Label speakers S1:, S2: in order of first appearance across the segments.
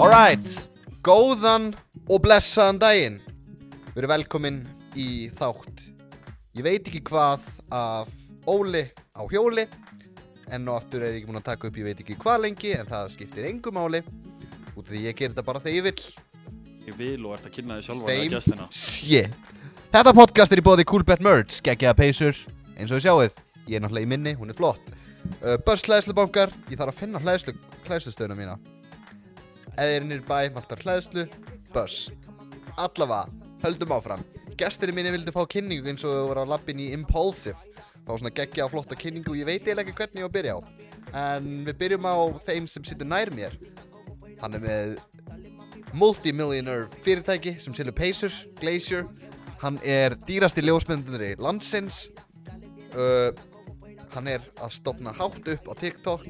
S1: Alright, góðan og blessaðan daginn Við erum velkomin í þátt Ég veit ekki hvað af Óli á hjóli En nú aftur er ég ekki múin að taka upp ég veit ekki hvað lengi En það skiptir engu máli Út af því ég gerir þetta bara þegar ég vill
S2: Ég vil og ert að kynna þig sjálfan að
S1: Same
S2: gestina
S1: shit Þetta podcast er í bóði Cool Bet Merch Gekkjaða peysur, eins og þið sjáuð Ég er náttúrulega í minni, hún er flott uh, Börs hlæðslubankar, ég þarf að finna hlæðslu Hlæðslustöðuna mína Eða er nýr bæ, vantar hlæðslu Börs, allavega Höldum áfram, gestirinn minni vildi fá kynningu eins og þau voru á lappin í Impulsive Það var svona geggja á flotta kynningu Ég veit eiginlega ekki hvernig ég á að byrja á En við byrjum á þeim sem situr nær mér Hann er með multimillionaire fyrirtæki sem selur Pacer, Glacier hann er dýrasti ljósmyndunri landsins uh, hann er að stopna hátt upp á TikTok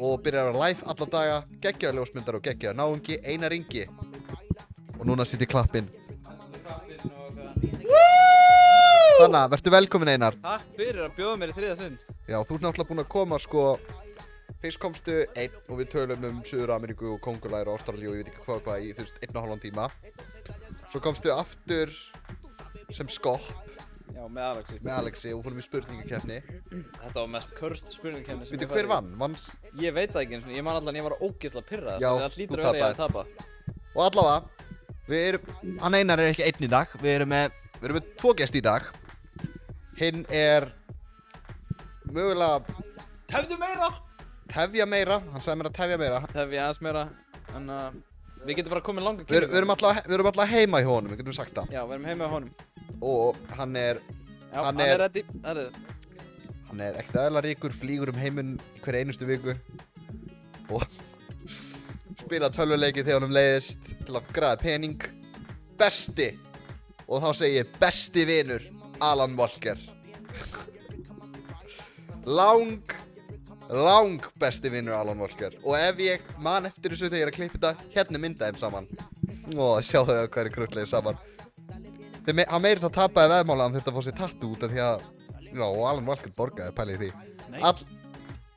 S1: og byrjar að live alla daga geggjaða ljósmyndar og geggjaða náungi eina ringi og núna sitt í klappin Þannig að verður velkomin Einar
S3: Takk fyrir að bjóða mér í þriða sinn
S1: Já, þú ert náttúrulega búin að koma sko Fyrst komstu einn og við tölum um Suður Ameríku og Kongulæri og Ástralíu og ég veit ekki hvað og hvað í þú veist einn og halvan tíma Svo komstu aftur sem skopp
S3: Já, með Alexi
S1: með Alexi og fórum í spurningakefni
S3: Þetta var mest körst spurningkenni
S1: Veitu hver vann? vann?
S3: Ég veit það ekki eins og ég man allan ég var ógeðslega pirrað
S1: Já,
S3: Þannig að það
S1: þú
S3: hlýtur að vera ég að tapa
S1: Og allavega, við erum, hann einar er ekki einn í dag Við erum með, við erum með tvo gest í dag Hinn er mögulega
S2: Tefðu meira!
S1: tefja meira, hann sagði mér að tefja meira
S3: Það hef ég aðeins meira En uh, við getum bara komið langa
S1: Við, erum- við erum allavega- við erum alltaf heima í honum, við getum sagt það
S3: Já, við erum heima á honum
S1: Og hann er
S3: Já,
S1: Hann
S3: hann
S1: er-
S3: er reddi Það er
S1: Hann er ekkert aðeins ríkur, flýgur um heiminn hver einustu viku og spila tölvuleiki þegar honum leiðist til að græða pening. Besti! Og þá segi ég besti vinur, Alan Walker. Lang, lang besti vinur Alan Walker. Og ef ég man eftir þessu þegar ég er að klippa þetta, hérna mynda þeim saman. Ó, sjáðu þau hvað er krullegið saman. Þeir, me- hann meirinn að tapaði veðmála, hann þurfti að fá sér tattu út af því að Já, og Alan Walker borgaði, pælið í því.
S2: Nei.
S1: All...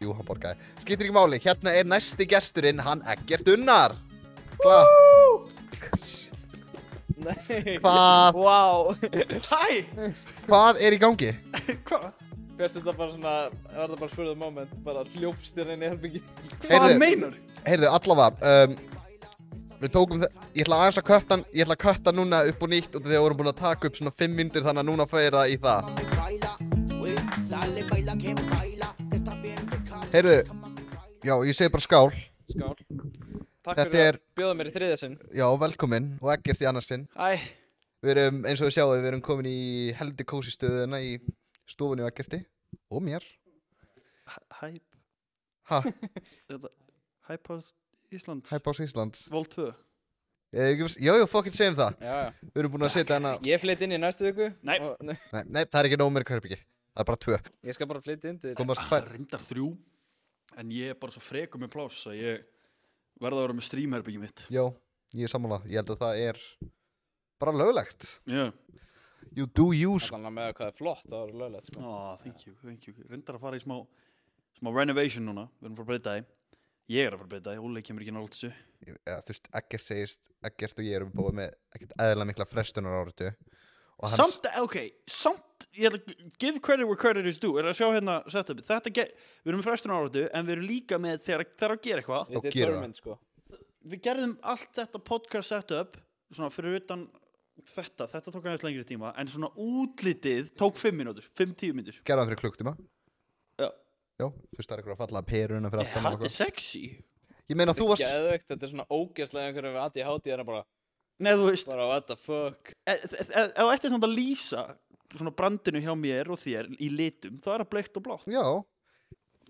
S1: Jú, hann borgaði. Skýtir ekki máli, hérna er næsti gesturinn, hann Eggert Unnar. Hva?
S3: Nei
S1: Hvað,
S3: Vá
S2: Hæ!
S1: hvað er í gangi?
S2: Hva?
S3: Fyrst þetta bara svona Var þetta bara spurðið moment Bara hljópst þér inn í herbyggi
S2: Hvað
S1: Heyrðu.
S2: meinar?
S1: Heyrðu, allavega, um, við tókum það, ég ætla aðeins að kötta, hann- ég ætla að kötta núna upp og nýtt og þegar við vorum búin að taka upp svona 5 myndir þannig að núna færa það í það.
S4: baila, güey, dale, baila, que baila, que está bien pecado.
S1: Heyrðu, já, ég segi bara skál,
S3: Skál Takk
S1: Þetta
S3: fyrir
S1: er-
S3: að bjóða mér í þriða sinn
S1: já, velkomin og Eggert í annarsinn.
S2: Æ,
S1: Við erum, eins og við sjáum, við erum komin í helviti kósi stöðuna í stofunni á Eggerti og mér.
S2: hæp
S1: Ha,
S2: Þetta, hæp á Ísland
S1: Hæpás Íslands. Eh,
S2: Vol 2
S1: Ég hef ekki- Jú, jú, fokkin segjum það
S3: Já, já
S1: Við erum búin að setja hana
S3: Ég flytt inn í næstu viku
S2: Nei.
S3: og, nei
S1: Nei, nei það er ekki nóg mér kverbyggi Það er bara tvö
S3: Ég skal bara flytt inn til þín.
S1: Komast
S2: Það
S1: tvær
S2: er Ah, reyndar þrjú En ég er bara svo frekur með pláss að ég verða að vera með streamherbyggi mitt
S1: Jó, ég er sammála Ég held að það er bara löglegt
S2: Já
S1: You do you sko
S3: Allan að með hvað er flott Það var löglegt sko
S2: Ó, thank you, thank you Reyndar að fara í smá smá renovation núna Við erum að fara að breyta því Ég er að fara að breyta því, Óli kemur ekki nátt þessu
S1: Ég- eða, Þú veist, Eggert segist Eggert og ég erum búið með ekkert eðla mikla frestunar áritu Og hans
S2: Samt, ok, samt ég ætla að give credit where credit is due er að sjá hérna setupið, þetta ge- við erum með frestun áratu en við erum líka með þegar það er að gera eitthvað
S1: Já.
S3: Þetta er
S1: gerir það.
S3: dormant sko
S2: við gerðum allt þetta podcast setup svona fyrir utan þetta, þetta tók aðeins lengri tíma en svona útlitið tók 5 mínútur 5-10 mínútur
S1: Gerðan fyrir klukktíma
S2: Já.
S1: Jó, þú veist, það er eitthvað að falla að peruna fyrir aftan og
S2: þetta er
S1: eitthvað.
S2: sexy
S1: Ég meina, þú varst
S3: Geðveikt, þetta er svona ógeðslega einhverjum við aði hátíð er bara,
S2: Nei, þú veist,
S3: bara what the fuck
S2: e- e- e- ef þú ættir samt að lýsa svona brandinu hjá mér og þér í litum, það er að bleikt og blátt
S1: Já,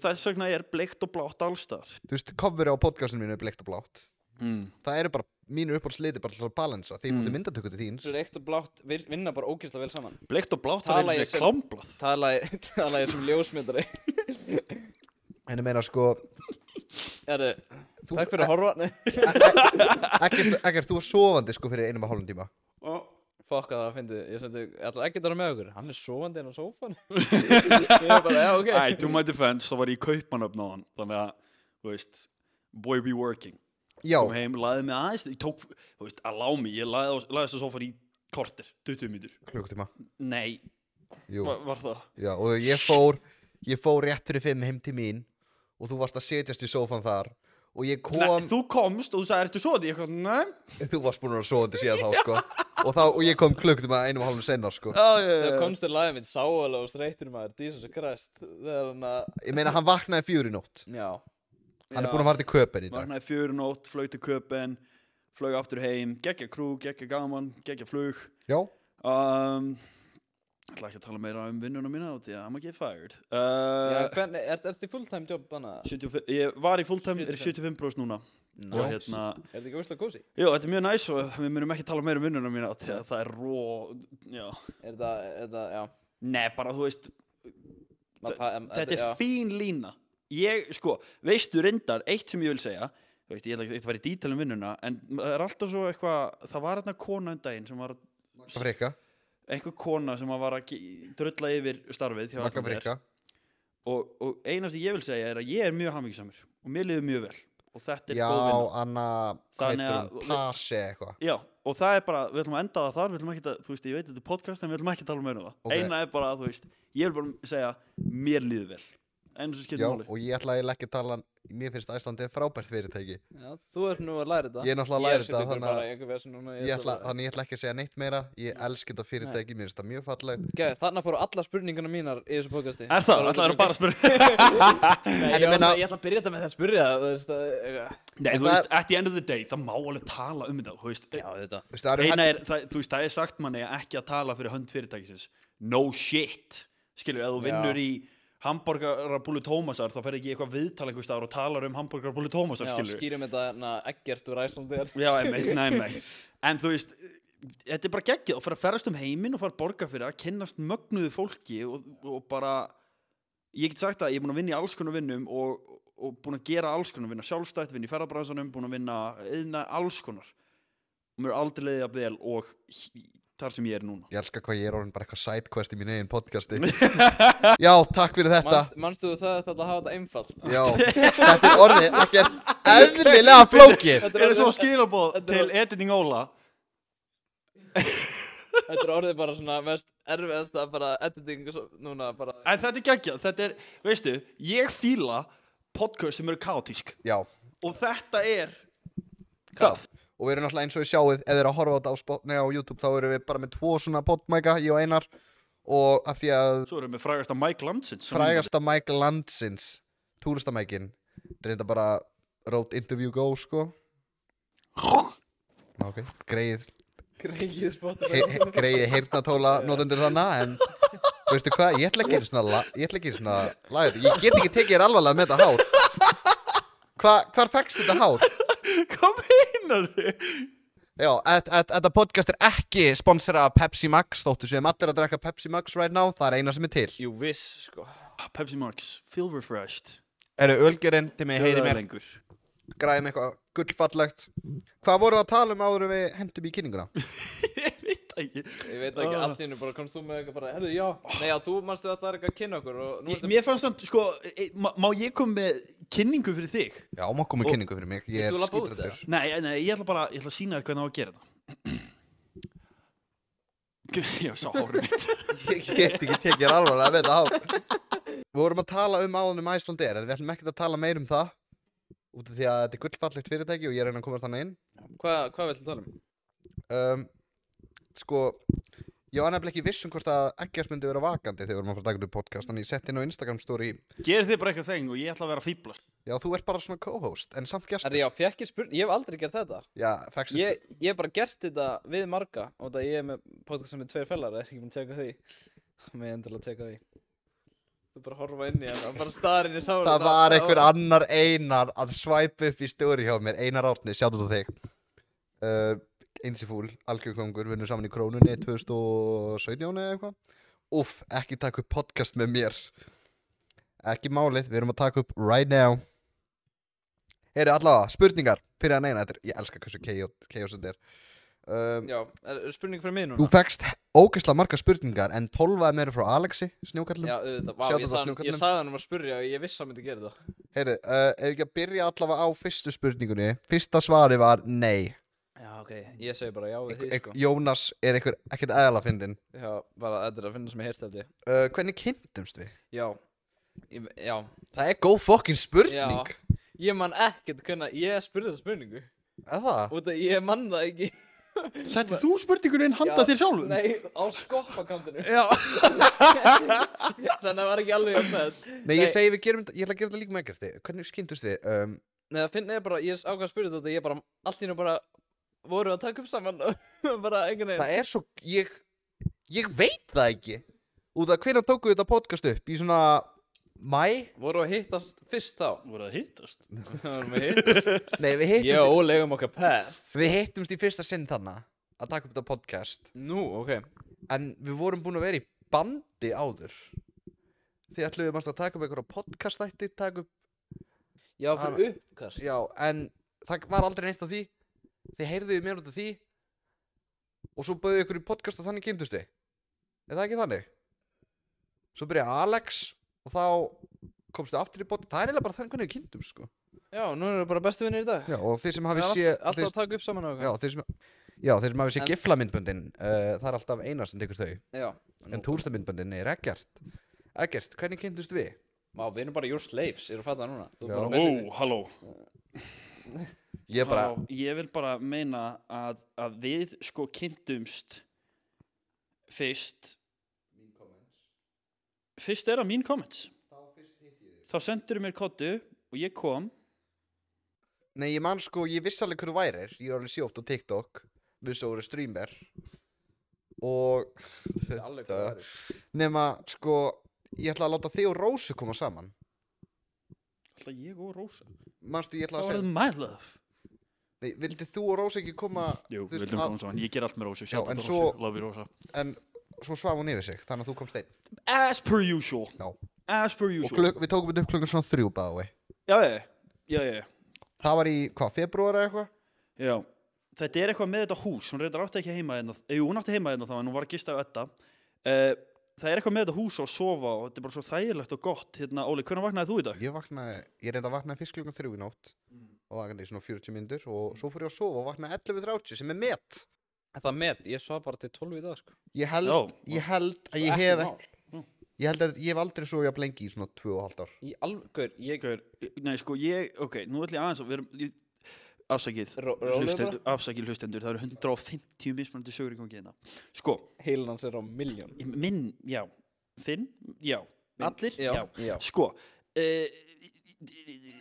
S2: þess vegna er bleikt og blátt allstar
S1: þú veist, coverið á podcastinu mínu er bleikt og blátt
S2: mm.
S1: Það eru bara, mínu uppáhaldsliti bara til að balansa Því ég
S2: Mm.
S1: fótti myndatöku til þín
S3: Reykt og blátt vir- vinna bara ógeðslega vel saman
S2: bleikt og blátt
S3: Tala
S2: er einu
S3: ég
S2: sinni
S3: sem-
S2: klámblað
S3: Tala ég, tala ég sem ljósmyndari
S1: En ég meina, sko,
S3: Erðu,
S1: Þú- e-
S3: takk fyrir að horfa Nei,
S1: Ekkert, ekkert, þú var sofandi sko fyrir einum og hálfum tíma
S2: og
S3: Fuck að það fyndi, ég sendi, ætla ekki að vera með okkur Hann er sofandi inn á sófan Ég er bara, já ok
S2: Æ, to my defense, þá var ég í kaupanöfn á hann Þannig að, þú veist, boy be working
S1: Já,
S2: kom heim, laðið mig aðeins ég tók, þú veist, að lámi, ég laði, á- laði þess að sofan í korter, 20 mínútur
S1: klukkutíma
S2: nei,
S1: Jú,
S2: var, var það
S1: já, og þegar ég fór Ég fór rétt fyrir fimm heim til mín Og þú varst að setjast í sófan þar Og ég kom
S2: Nei, þú komst og þú sagði, ertu svo því? Ég kom, nei.
S1: Þú varst búin að sofa undir síðan þá, sko Og, þá, og ég kom klukkutíma einum og hálfum senna, sko
S2: Já, já,
S3: Þegar komst þér lagið mitt sáala og streytur maður, Jesus Christ, þegar hann að,
S1: Ég meina, hann vaknaði fjúri nótt
S3: já,
S1: Hann er búin að fara til köpen í dag
S2: Vaknaði fjögur í nótt, flög til köpen, flög aftur heim, geggja krú, geggja gaman, geggja flug.
S1: Já,
S2: Um, ætla ekki að tala meira um vinnuna mína á því að I'm gonna get fired.
S3: já,
S2: Uh,
S3: hvernig, er þetta fulltime job þannig að,
S2: 75, ég var í fulltime, er í 75 núna. Og
S3: er
S2: hérna,
S3: þetta ekki óslega kósi?
S2: jú, þetta er mjög næs og við munum ekki tala meira um vinnuna mína á því að það er ró, já.
S3: Er þetta, er þetta, já,
S2: Nei, bara þú veist,
S3: maður pa- em-
S2: þetta er
S3: já.
S2: fín lína ég, sko, veistu reyndar eitt sem ég vil segja þú veist, ég ætla ekki að fara í dítal um vinnuna en það er alltaf svo eitthvað það var hérna kona um daginn sem var
S1: frikka,
S2: einhver kona sem var að ge- drulla yfir starfið hjá
S1: makka
S2: Atla Freyr.
S1: frikka
S2: og, og eina sem ég vil segja er að ég er mjög hamingsamur og mér liður mjög vel og þetta er
S1: Já,
S2: góð vinna
S1: Anna, hvað
S2: Þannig
S1: heitir
S2: að-
S1: hún? Pase eitthvað
S2: Já, og það er bara, við ætlum að enda það þar, við ætlum ekki að, þú veist, ég veit þetta er podcast en við ætlum ekki að tala um einu það.
S1: Ok.
S2: Eina er bara, þú veist, ég vil bara segja, mér líður vel. Einu sem
S1: Já,
S2: skiptir máli.
S1: og ég ætla eiginlega ekki að tala Mér finnst Æslandi er frábært fyrirtæki
S3: Já, þú ert nú að læra þetta.
S1: Ég er náttúrulega að læra þetta,
S3: Ég er
S1: þannig að-
S3: bara í einhver vesen núna.
S1: ég ætla, Þannig ég ætla ekki að segja neitt meira Ég elski þetta fyrirtæki, mér finnst það mjög falleg
S3: Gæði, þannig að fóru allar spurningana mínar í þessu podcasti.
S2: Er það? Ætlaðu að bara að spyrja?
S3: Nei,
S1: En
S3: ég,
S1: ég
S3: meina...
S1: meina-
S3: ég ætla að byrja þetta með það að spyrja það, þú veist, það, eitthvað.
S2: Nei, þú
S1: það-
S2: veist, at the end of the day, það má alveg tala um þetta, þú veist, e-
S3: Já, þetta.
S1: Þú veist, það eru
S2: eina
S1: hel-
S2: er, það, þú veist, það er sagt manni að ekki að tala fyrir hönd fyrirtækisins, no shit, skilur, ef þú
S3: Já.
S2: vinnur í hambúrgarabúlu Tómasar, þá fer ekki í eitthvað viðtal einhvers staðar og talar um hambúrgarabúlu Tómasar,
S3: Já,
S2: skilur.
S3: skýrum þetta hérna ekkert úr Æslandir.
S2: Já, einmitt, næmi, en þú veist, þetta er bara geggið og fyrir að ferast um heiminn og fara að borga fyrir að kynnast mögnuðu fólki og, og bara, ég get sagt að ég er búin að vinna í alls konar vinnum og, og búin að gera alls konar vinna, sjálfstætt vinna í ferðabransanum, búin að vinna, eðna alls konar og mér er aldrei leiðið að vel og h- þar sem ég er núna
S1: Ég elska hvað ég er orðin bara eitthvað sidequest í mín eigin podcasti Já, takk fyrir þetta
S3: Manst, manstu þú það þetta að hafa þetta einfalt?
S1: Já, þetta er orðið ekkert eðlilega flókið
S3: Þetta
S2: Er það svo
S3: orðið-
S2: skilabóð
S3: þetta
S2: til
S3: var-
S2: editing Óla?
S3: Þetta er orðið bara svona mest erfiðast að bara editing og svo, núna bara
S2: En þetta er geggjað, þetta er, veistu, ég fíla podcast sem eru kaotísk
S1: Já,
S2: og þetta er það
S1: og við erum náttúrulega eins og við sjáuð ef þið eru að horfa á þetta á, Spot- nei, á YouTube þá erum við bara með tvo svona podmæka, ég og Einar og af því að
S2: Svo erum við frægasta Mike Landsins sem-
S1: frægasta mæk landsins túristamækin reynda bara road interview go sko Ná, ok, greið
S3: greið
S1: he,
S3: spottið.
S1: he, greið heyrnatóla notendur þarna en veistu hvað, ég ætla ekki einu svona la- ég ætla ekki einu svona laga þetta, ég get ekki tekið þér alvarlega með þetta hár Hva, hvar fækst þetta hár?
S2: Hvað meinar þið?
S1: Já, þet- þet- þetta podcast er ekki sponsorað af Pepsi Max, þóttu séum allir að drekka Pepsi Max right now, það er eina sem er til.
S3: Jú, viss, sko.
S2: Ah, Pepsi Max, feel refreshed
S1: Eru ölgerinn til mig, heyri
S2: Gjörðu það
S1: mér,
S2: lengur
S1: græðum eitthvað gullfallegt. Hvað vorum við að tala um áður en við hendum í kynninguna?
S2: Ég veit það ekki
S3: Ég veit ekki,
S2: Ah.
S3: allt í hennu bara komst þú með eitthvað bara, herru, já, nei, já, þú manstu að það er eitthvað að kynna okkur og nú
S2: Ég-
S3: ertu
S2: Mér fannst þannig, sko, e, má, má ég koma með kynningu fyrir þig?
S1: Já, má koma
S2: Og-
S1: með kynningu fyrir mig, ég
S3: Vilt
S1: er
S3: þú labba út,
S1: skítrættur.
S2: Nei, eh, nei, ég ætla bara, ég ætla að sína þér hvernig á að gera þetta Já, sá hárið mitt
S1: Ég get ekki tekið þér alvarlega með þetta hár. Við vorum að tala um áður um Æsland er, en við ætlum ekkert að tala meir um það. Út af því að þetta er gullfallegt fyrirtæki og ég er að reyna að komast þannig inn.
S3: Hvað hva viltu tala um?
S1: Um, sko, ég var nefnilega ekki viss um hvort að Eggers myndi vera vakandi þegar við vorum að fara að taka upp podcast, þannig ég sett inn á Instagram story
S2: Gerið þið bara eitthvað þeng og ég ætla að vera fíbla
S1: Já, þú ert bara svona co-host, en samt gestur
S3: Herru, já, fekk ég spurning, ég hef aldrei gert þetta.
S1: Já, fækstu
S3: Ég, ég hef bara gert þetta við marga, og það ég er með podcast sem er tveir fellar, það er ekki búin að teka því. Mér er endilega að teka því. Þú bara horfa inn í hann og bara starinn í sála.
S1: Það var einhver annar einar að svæpa upp í stóri hjá mér Einar Árni, sjáttu þú þig uh, Einsifúl, algjörkongur, vinnum saman í krónunni 2017 eða eitthvað Úff, ekki taka upp podcast með mér Ekki málið, við erum að taka upp right now Heyri, allavega, spurningar fyrir að neina þetta er- Ég elska hversu chaos chaos þetta er um,
S3: Já, er, er spurning fyrir mig
S1: Þú
S3: núna?
S1: fegst ógeðslega margar spurningar En 12 að mér frá Alexi, snjókallum
S3: Já, auðvitað, vá,
S1: Sjáðu
S3: ég
S1: það
S3: sagði, hann- ég
S1: snjókarlinum.
S3: sagði hann um að spurja og ég vissi að hann myndi gera það.
S1: Heyrðu, uh, ef ekki að byrja allavega á fyrstu spurningunni Fyrsta svari var nei
S3: Já, ok, ég segi bara já
S1: Einhver-
S3: við því,
S1: einhver-
S3: sko.
S1: Jónas er einhver ekkert eðala fyndin
S3: Já, bara þetta er að finna sem ég heyrst eftir.
S1: uh, Hvernig kynntumst við?
S3: Já, ég, já,
S1: Það er góð fokkin spurning
S3: ég man ekkert hvernig, ég spurði það spurningu.
S1: Er það?
S3: Út af ég man það ekki.
S2: Sætti þú spurningunni inn handa
S3: Já,
S2: þér sjálfum?
S3: Nei, á skoppakantinu.
S2: Já,
S3: Þannig að það var ekki alveg að með.
S1: Nei, ég segi við gerum þetta, ég ætla að gera þetta líka með ekkert Hvernig kynntumst við? Um,
S3: Nei, það finnir ég bara, ég ákvað að spyrja þetta, ég bara, allt í nú bara, voru að taka upp saman og bara einhvern veginn.
S1: það er svo, ég, ég veit það ekki Út af hvernig tóku þetta podcast upp í svona mæ?
S3: Voru að hittast fyrst þá.
S2: voru að hittast
S3: Vorum að hittast.
S1: Nei, við hittumst,
S3: Ég og Óli eigum okkar past.
S1: við hittumst í fyrsta sinn þarna að taka upp þetta podcast
S3: Nú, ok.
S1: En við vorum búin að vera í bandi áður Því ætlum við að taka upp einhverja podcast þætti taka upp,
S3: Já,
S1: Hann-
S3: fyrir uppkast.
S1: Já, en það var aldrei neitt á því Þið heyrðu mér út af því Og svo bauðu ykkur í podcast og þannig kynntusti Er það ekki þannig? Svo byrjaði Alex Og þá komstu aftur í podcast Það er eiginlega bara þannig hvernig við kynntum sko.
S3: Já, nú erum við bara bestu vinnir í dag.
S1: Já, og þeir sem hafi
S3: Það
S1: sé
S3: er alltaf
S1: þeir,
S3: að taka upp saman á
S1: já,
S3: okkar.
S1: þeir sem, já, þeir sem hafi sé
S3: En-
S1: giflamyndböndin uh, Það er alltaf einar sem tekur þau
S3: Já.
S1: En túrstamindböndinni er ekkert Ekkert, hvernig kynntust við?
S3: Má, við erum bara your slaves, eru að fatta það núna. Þú
S1: Já.
S3: bara
S2: Ó,
S3: messinni.
S2: halló
S1: Ég bara,
S2: Halló, Ég vil bara meina að, að við sko kynntumst fyrst Fyrst er að mín comments Þá sendur mér kottu og ég kom
S1: nei ég man sko, ég vissi alveg hvernig værir Ég er alveg sjóft á TikTok Við svo voru streamer Og
S3: Það er alveg hvað það er.
S1: nema sko Ég ætla að láta þig og Rósu koma saman
S2: Alltaf ég og Rósa
S1: Manstu ég ætla
S2: Það
S1: að
S2: var
S1: segja
S2: það my love
S1: Nei, vildi þú og Rósu ekki koma
S2: Jú,
S1: þú
S2: við
S1: veist,
S2: viljum
S1: að-
S2: koma saman, ég ger allt með Rósu
S1: Já,
S2: Sjátt
S1: en
S2: þetta Rósu,
S1: svo-
S2: love you Rósa
S1: En svo svaf hún yfir sig, þannig að þú komst einn
S2: As per usual
S1: Já.
S2: As per
S1: Og
S2: usual
S1: kluk, við tókum þetta upp klukkan svona þrjú báði
S2: Já, já, já, já, já
S1: Það var í, hvað, februar eða eitthvað?
S2: Já, þetta er eitthvað með þetta hús hún reyndar átti ekki heima hérna jú, hún átti heima hérna þá en hún var að gista á þetta uh, það er eitthvað með þetta hús og að sofa og þetta er bara svo þægilegt og gott hérna, Óli, hvernig vaknaði þú í dag?
S1: Ég vaknaði, ég reynda að vaknaði fyrst klukkan þrjú í nótt og vaknaði í svona 40 myndur og svo fór ég að sofa og vaknaði 11.30 sem er met
S3: En Það met, ég svo bara til 12 í dag, sko.
S1: Ég held,
S2: Já.
S1: ég held að ég
S3: Ekki
S1: hef
S3: mál.
S1: ég held að ég hef aldrei svo jafn lengi í svona 2,5 ár
S3: Í alveg, ég...
S2: Hver, nei, sko, ég, ok, nú ætlum ég aðeins að við erum, ég, afsakið
S3: Ró- rólegur
S2: hlustendur, afsakið hlustendur, það eru 150 mismunandi sögur í gangi hérna sko,
S3: Heilin hans er á miljón.
S2: minn, já, þinn, já allir, já,
S3: Já.
S2: sko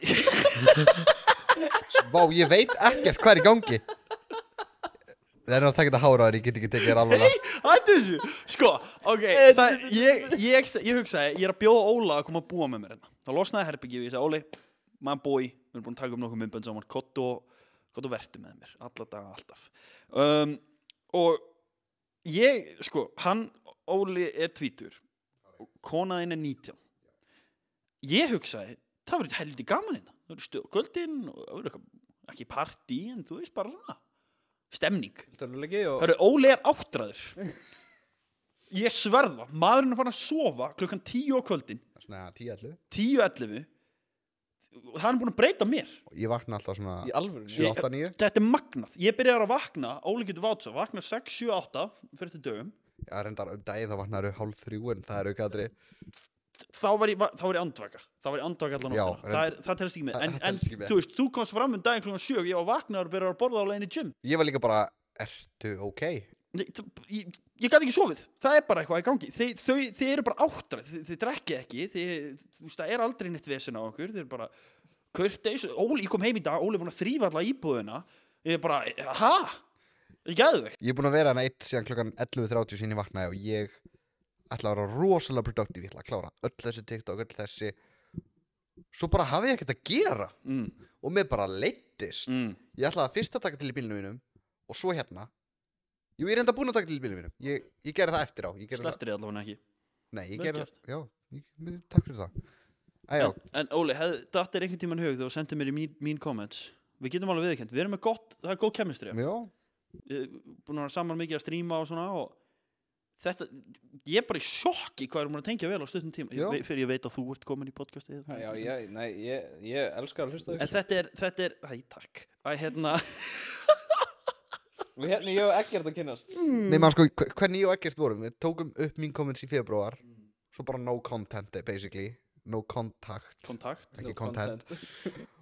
S2: uh,
S1: Vá, ég veit ekkert hvað er í gangi Það er nú að taka þetta hára þér, ég get ekki tekið þér alveg
S2: Nei, hættu þessu Sko, ok það, ég, ég, ég hugsaði, ég er að bjóða Óla að koma að búa með mér hérna Þá losnaði herbyggið og ég sagði Óli, mann bói Við erum búin að taka um nokkuð myndbönd saman Kott og, kott og vertu með mér Alla daga, alltaf um, Og ég, sko, hann Óli er tvítur Og konaðinn er 19 Ég hugsaði, það verður heldur gaman hérna Það verður stuð á kvöldin og það verður eitthvað Ekki partí, en þú veist bara svona Stemning
S3: Tölvulegi og...
S2: Hörru, Óli er áttræður Ég sverða, maðurinn er farin að sofa klukkan 10 á kvöldin,
S1: Svona 10-11
S2: tíu-ellefu og það er búin að breyta mér
S1: Ég vakna alltaf svona
S3: Í alveg.
S1: 7-8-9
S2: Þetta er magnað, ég byrjar að vakna Óli getur vátsa, vakna 6, 7, 8 fyrir þetta dögum,
S1: Já, reyndar um daginn þá vaknaður hálf þrjú en það eru ekki aðri
S2: þá var ég, þá var ég andvaka þá var ég andvaka allan
S1: Já,
S2: áttina, það, er, það telst ekki með
S1: Það-
S2: en,
S1: það telst ekki
S2: en
S1: með.
S2: þú veist, þú komst fram um daginn klukkan 7 ég var vaknaður og byrjar að borða á leiðinni í gym
S1: Ég var líka bara, ertu ok?
S2: Nei, það- ég, ég gæti ekki sofið, það er bara eitthvað í gangi þið, þau, þið eru bara áttræð, þið, þið drekkið ekki þið, þú veist, það er aldrei neitt vesen á okkur þið eru bara, Curtis Óli, ég kom heim í dag, Óli er búin að þrýfa alla íbúðina ég er bara, ha? ég gæði þig,
S1: Ég er búin að vera hann eitt síðan klukkan 11.30 sinni vaknaði og ég ætla að vera rosalega produktív, ég ætla að klára öll þessi TikTok, öll þessi Svo bara hafi ég ekkert að gera
S2: mm,
S1: og mér bara leittist
S2: mm.
S1: Ég ætlaði að fyrst að taka til í bílinu mínum og svo hérna. Jú, ég er enda búinn að taka til í bílinu mínum. Ég, ég gerði það eftir á. Ég gerði það,
S2: sleftir þið allavega ekki
S1: nei, ég
S2: vel
S1: gerði
S2: gert.
S1: það, já, ég, mér, takk fyrir það. Æjá,
S2: en, en Óli, hef, þetta er einhvern tímann hug þegar þú sendir mér í mín, mín comments við getum alveg viðkjönd, við erum með gott, það er góð kemistri hérna.
S1: já,
S2: búin að vera saman mikið að stríma og svona og þetta, ég er bara í sjokki hvað erum að tengja vel á stuttum tíma
S1: Já.
S2: ég, vei- fyrir ég veit að þú ert komin í podcastið hérna.
S3: Já, já, nei, ég, ég elskar að hlusta á
S2: en
S3: ykkur
S2: þetta er, þetta er, æ takk að hérna,
S3: Og hérna ég og Eggert að kynnast
S1: Nei maður sko, hve- hvernig ég og Eggert vorum Við tókum upp mín komments í februar Svo bara no content basically No contact
S2: kontakt
S1: Ekki content.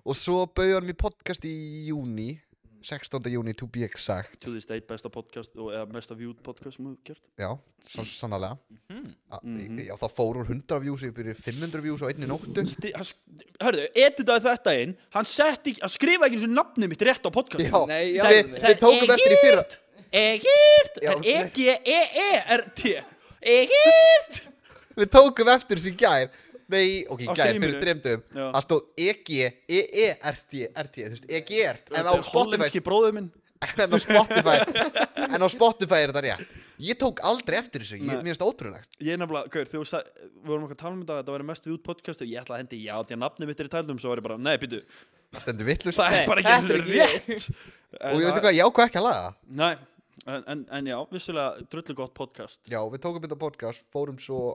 S1: Og svo bauði hann mér podcast í júni 16. júni, to be exact
S2: to this date besta podcast og eða mesta viewed podcast sem þú hefur gert
S1: Já, svo sannlega mm
S2: Mhm.
S1: Já, það fór úr 100 views yfir í 500 views og einni nóttu
S2: Sti- hann sk- hörðu, editaði þetta inn hann setti, hann skrifaði ekki eins og nafnið mitt rétt á podcastið
S1: Já,
S3: Nei, já,
S1: við, við tókum eftir í fyrra
S2: Egift,
S1: Já,
S2: það
S1: nei.
S2: er E-G-E-E-R-T Egift
S1: Við tókum eftir þessi í gær Nei, ok, í
S2: Á
S1: gær
S2: streaminu.
S1: fyrir þreymdum
S2: Já.
S1: Það stóð E EG, E-E-R-T, R-T Þú veist, E EG-ERT En á Spotify
S2: Hollenski bróður minn
S1: en á Spotify en á Spotify er þetta rétt ég tók aldrei eftir þessu, ég,
S2: Nei.
S1: mér finnst það ótrúlegt
S2: Ég er nefnilega, gaur, þegar þú sa- við vorum okkar að tala um þetta að þetta væri mest við út podcastu Ég ætlaði að hendi, já, því að nafnið mitt er í tælum Svo var ég bara, nei, býtu,
S1: það stendur vittlust
S2: það
S1: og
S2: er
S3: Nei,
S2: bara ekki
S3: þetta er
S2: alveg
S3: ekki-
S2: rétt uh,
S1: ég veistu hvað, ég ákvað ekki að laga það
S2: Nei, en, en, en já, vissulega, drullu gott podcast
S1: já, við tókum þetta podcast, fórum svo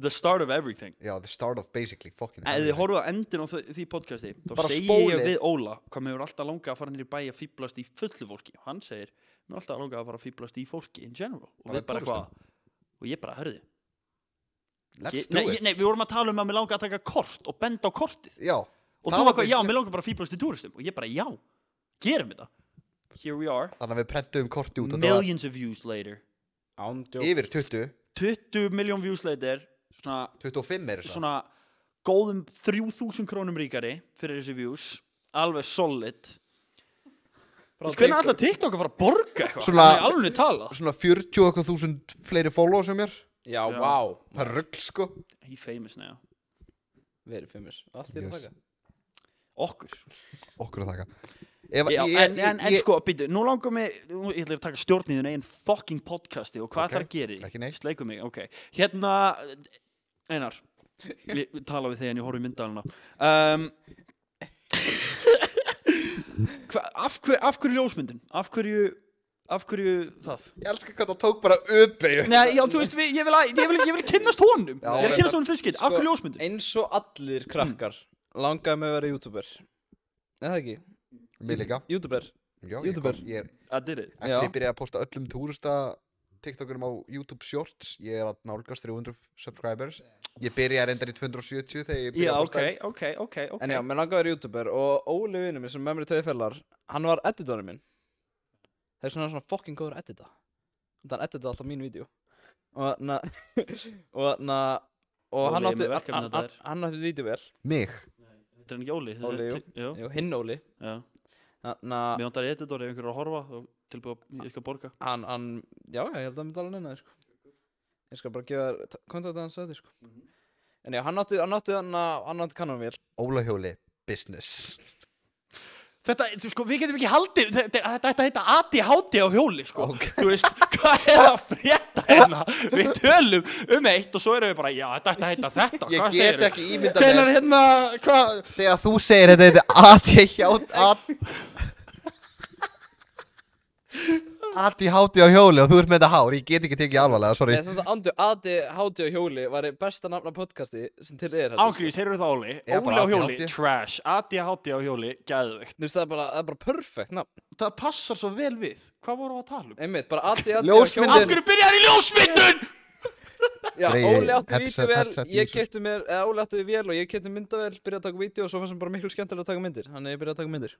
S2: The start of everything
S1: já, the start of basically fucking
S2: En þið
S1: everything.
S2: horfum að endin á þau- því podcasti Þá
S1: Bara
S2: segi ég
S1: spólið.
S2: við Óla Hvað mér er alltaf langað að fara nýri bæ að fýblast í fullu fólki Og hann segir, mér er alltaf langað að fara að fýblast í fólki in general Og
S1: Bara
S2: við bara
S1: túristum.
S2: hvað Og ég bara, hörðu
S1: let's
S2: ég,
S1: do
S2: nei, ég-
S1: it
S2: nei, við vorum að tala um að mér langaði að taka kort og benda á kortið
S1: já,
S2: og
S1: Það
S2: þú
S1: var
S2: var hvað, já,
S1: basically-
S2: mér langar bara að fýblast í túristum og ég bara, já, gerum þetta Here we are,
S1: þannig að við prentum korti út og það var
S2: millions of views later
S3: Ándjó
S1: yfir 20,
S2: 20 million views later svona,
S1: 25 er það
S2: svona góðum 3000 krónum ríkari fyrir þessi views alveg solid hvernig alltaf TikTok að fara að borga eitthvað
S1: Svona-
S2: Svona... alveg tala
S1: svona 40 okkur þúsund fleiri followers hjá mér
S2: Já.
S3: Já, vá
S1: það er rugl sko
S2: He famous now
S3: Við erum fimmur Allt þér
S1: Yes.
S3: að taka
S2: okkur
S1: okkur að þakka Ef,
S2: Já,
S1: ég-
S2: en, en, en
S1: ég-
S2: sko, býtu, nú langar mig nú, ég ætla að taka stjórn í þinn eigin fucking podcasti og
S1: Ok,
S2: hvað okay. það gerir
S1: ekki neitt.
S2: sleiku mig, ok hérna, Einar ég ég tala við þig en ég horf í myndalina um, hva, af, hver, af hverju ljósmyndin? af hverju af hverju það?
S1: ég elska hvað það tók bara uppeyju
S2: Nei, já, þú veist, við, ég, vil, að- ég, vil, ég vil kynnast honum
S1: Já,
S2: ég er
S1: reyndar.
S2: að kynnast honum fyrst skitt, af
S3: Sko,
S2: hverju ljósmyndin?
S3: Eins og allir krakkar Langaði mig að vera youtuber Er það ekki?
S1: mér líka
S3: Youtuber
S1: já, ég,
S3: YouTuber.
S1: kom, ég er
S2: I did it
S1: Eftir
S3: Já.
S1: ég byrjaði að posta öllum túrista TikTokurum á YouTube Shorts Ég er að nálgast 300 subscribers Ég byrjaði reyndar í 270 þegar ég byrjaði
S2: Já,
S1: að
S2: ok,
S1: posta
S2: ok, ok, ok
S3: En já, mér langaði að vera youtuber Og Óli vinnum minn sem er með mér í tvei fellar Hann var editorinn minn Það er svona svona fucking góður að edita Þannig að hann edita alltaf mín vídeo Og na Og na Og
S2: Óli
S3: hann
S2: er
S3: átti
S2: með verkefni
S3: hann-
S2: þetta
S3: hann-
S2: er.
S3: Hann átti vídeo vel
S1: Mig
S2: Þetta er ekki Óli þetta er-
S3: Óli,
S2: já,
S3: Jú, hinn Óli
S2: já
S3: Þannig að
S2: Mér vantar editor ef einhver er að horfa og tilbúið að ég skal borga
S3: hann, hann Já, já, ég held að hann tala neina sko. Ég skal bara gefa þér kontaktið hans að þér sko.
S2: Mhm.
S3: En já, hann átti Hann átti hann Hann átti kannan vel
S1: Ólahjóli Business
S2: Þetta, þú- sko, við getum ekki haldið Þetta þetta ætti að heita ADHD á hjóli, sko
S1: Ok.
S2: Þú veist, hvað er að frétta hérna? Við tölum um eitt og svo erum við bara Já, þetta ætti að heita þetta,
S1: Ég
S2: hvað
S1: get
S2: segirðu?
S1: ekki ímyndað
S2: Hvenær
S1: mér
S2: hérna, hvað
S1: Þegar þú segir þetta Þetta er að ég hjátt Að Að ég hátti á hjóli Og þú ert með þetta hár Ég get ekki tekið alvarlega Sorry
S3: Nei, samt að Andu, Adi, Háti og Hjóli var besta nafna podcasti sem til er þetta, sko.
S2: Ángriðis, heyrðu það Óli
S1: Já, bara
S2: Óli á hjóli,
S1: ADHD.
S2: trash ADHD á hjóli, gæðveikt
S3: Þú veist, það er bara, það er bara perfect nafn
S2: Það passar svo vel við Hvað vorum við að tala um?
S3: Einmitt, bara Adi, Adi
S1: Ljósmyndin.
S2: Af hverju byrjar í ljósmyndun?
S3: Já,
S1: Grey
S3: Óli átti
S1: headset-
S3: vídeovel,
S1: headset
S3: ég
S1: user.
S3: getur mér, eða Óli átti vél og ég getur myndavel, byrjaði að taka vídeo og svo fannst mér bara miklu skemmtilega að taka myndir, þannig að ég byrjaði að taka myndir.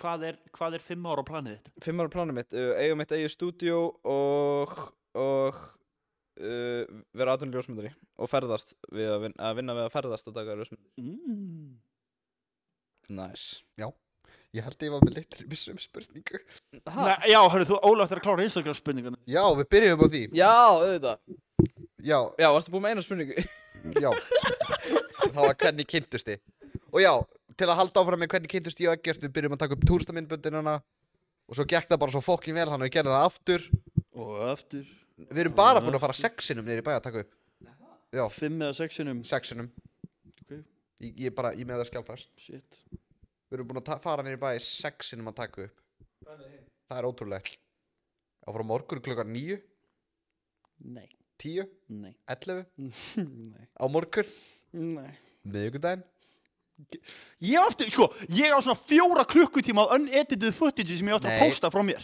S2: Hvað er, hvað er fimm ára á planið þitt?
S3: Fimm ára planið mitt, uh, eigum mitt eigið stúdíó og, og uh, vera aðtunni ljósmyndari og ferðast við að vinna, að vinna við að ferðast að taka ljósmyndari.
S2: Mm.
S3: Næs.
S1: Ég held ég var með litri Vissum spurningu
S3: Nice.
S2: Nei, já, hörðu, þú Óli ættir að klára Instagram spurningan
S1: Já, við byrjum á því
S3: Já, auðvitað.
S1: Já,
S3: Já, varstu búin með eina spurningu?
S1: já Það var hvernig kynntusti Og já, til að halda áfram með hvernig kynntusti ég og ekkert Við byrjum að taka upp túrstaminnbundinuna Og svo gekk það bara svo fokkin vel Þannig að við gerðum það aftur
S2: Og aftur
S1: Við erum bara búin að fara sexinum niður í bæ að taka upp Já,
S2: Fimm eða sexinum
S1: sexinum
S2: Ok.
S1: Ég, ég bara, ég með það skjálfast
S2: Shit
S1: Við erum búin að ta- fara niður í bæ sexinum að taka upp Það er ótrúlegt Það fór á morgun klukkan níu
S2: Nei,
S1: 10,
S2: nei,
S1: 11
S2: nei,
S1: á morgun,
S2: nei
S1: miðvikudaginn
S2: Ég átti, sko, ég á svona fjóra klukkutíma af unedited footage sem ég átti að
S1: Nei.
S2: posta frá mér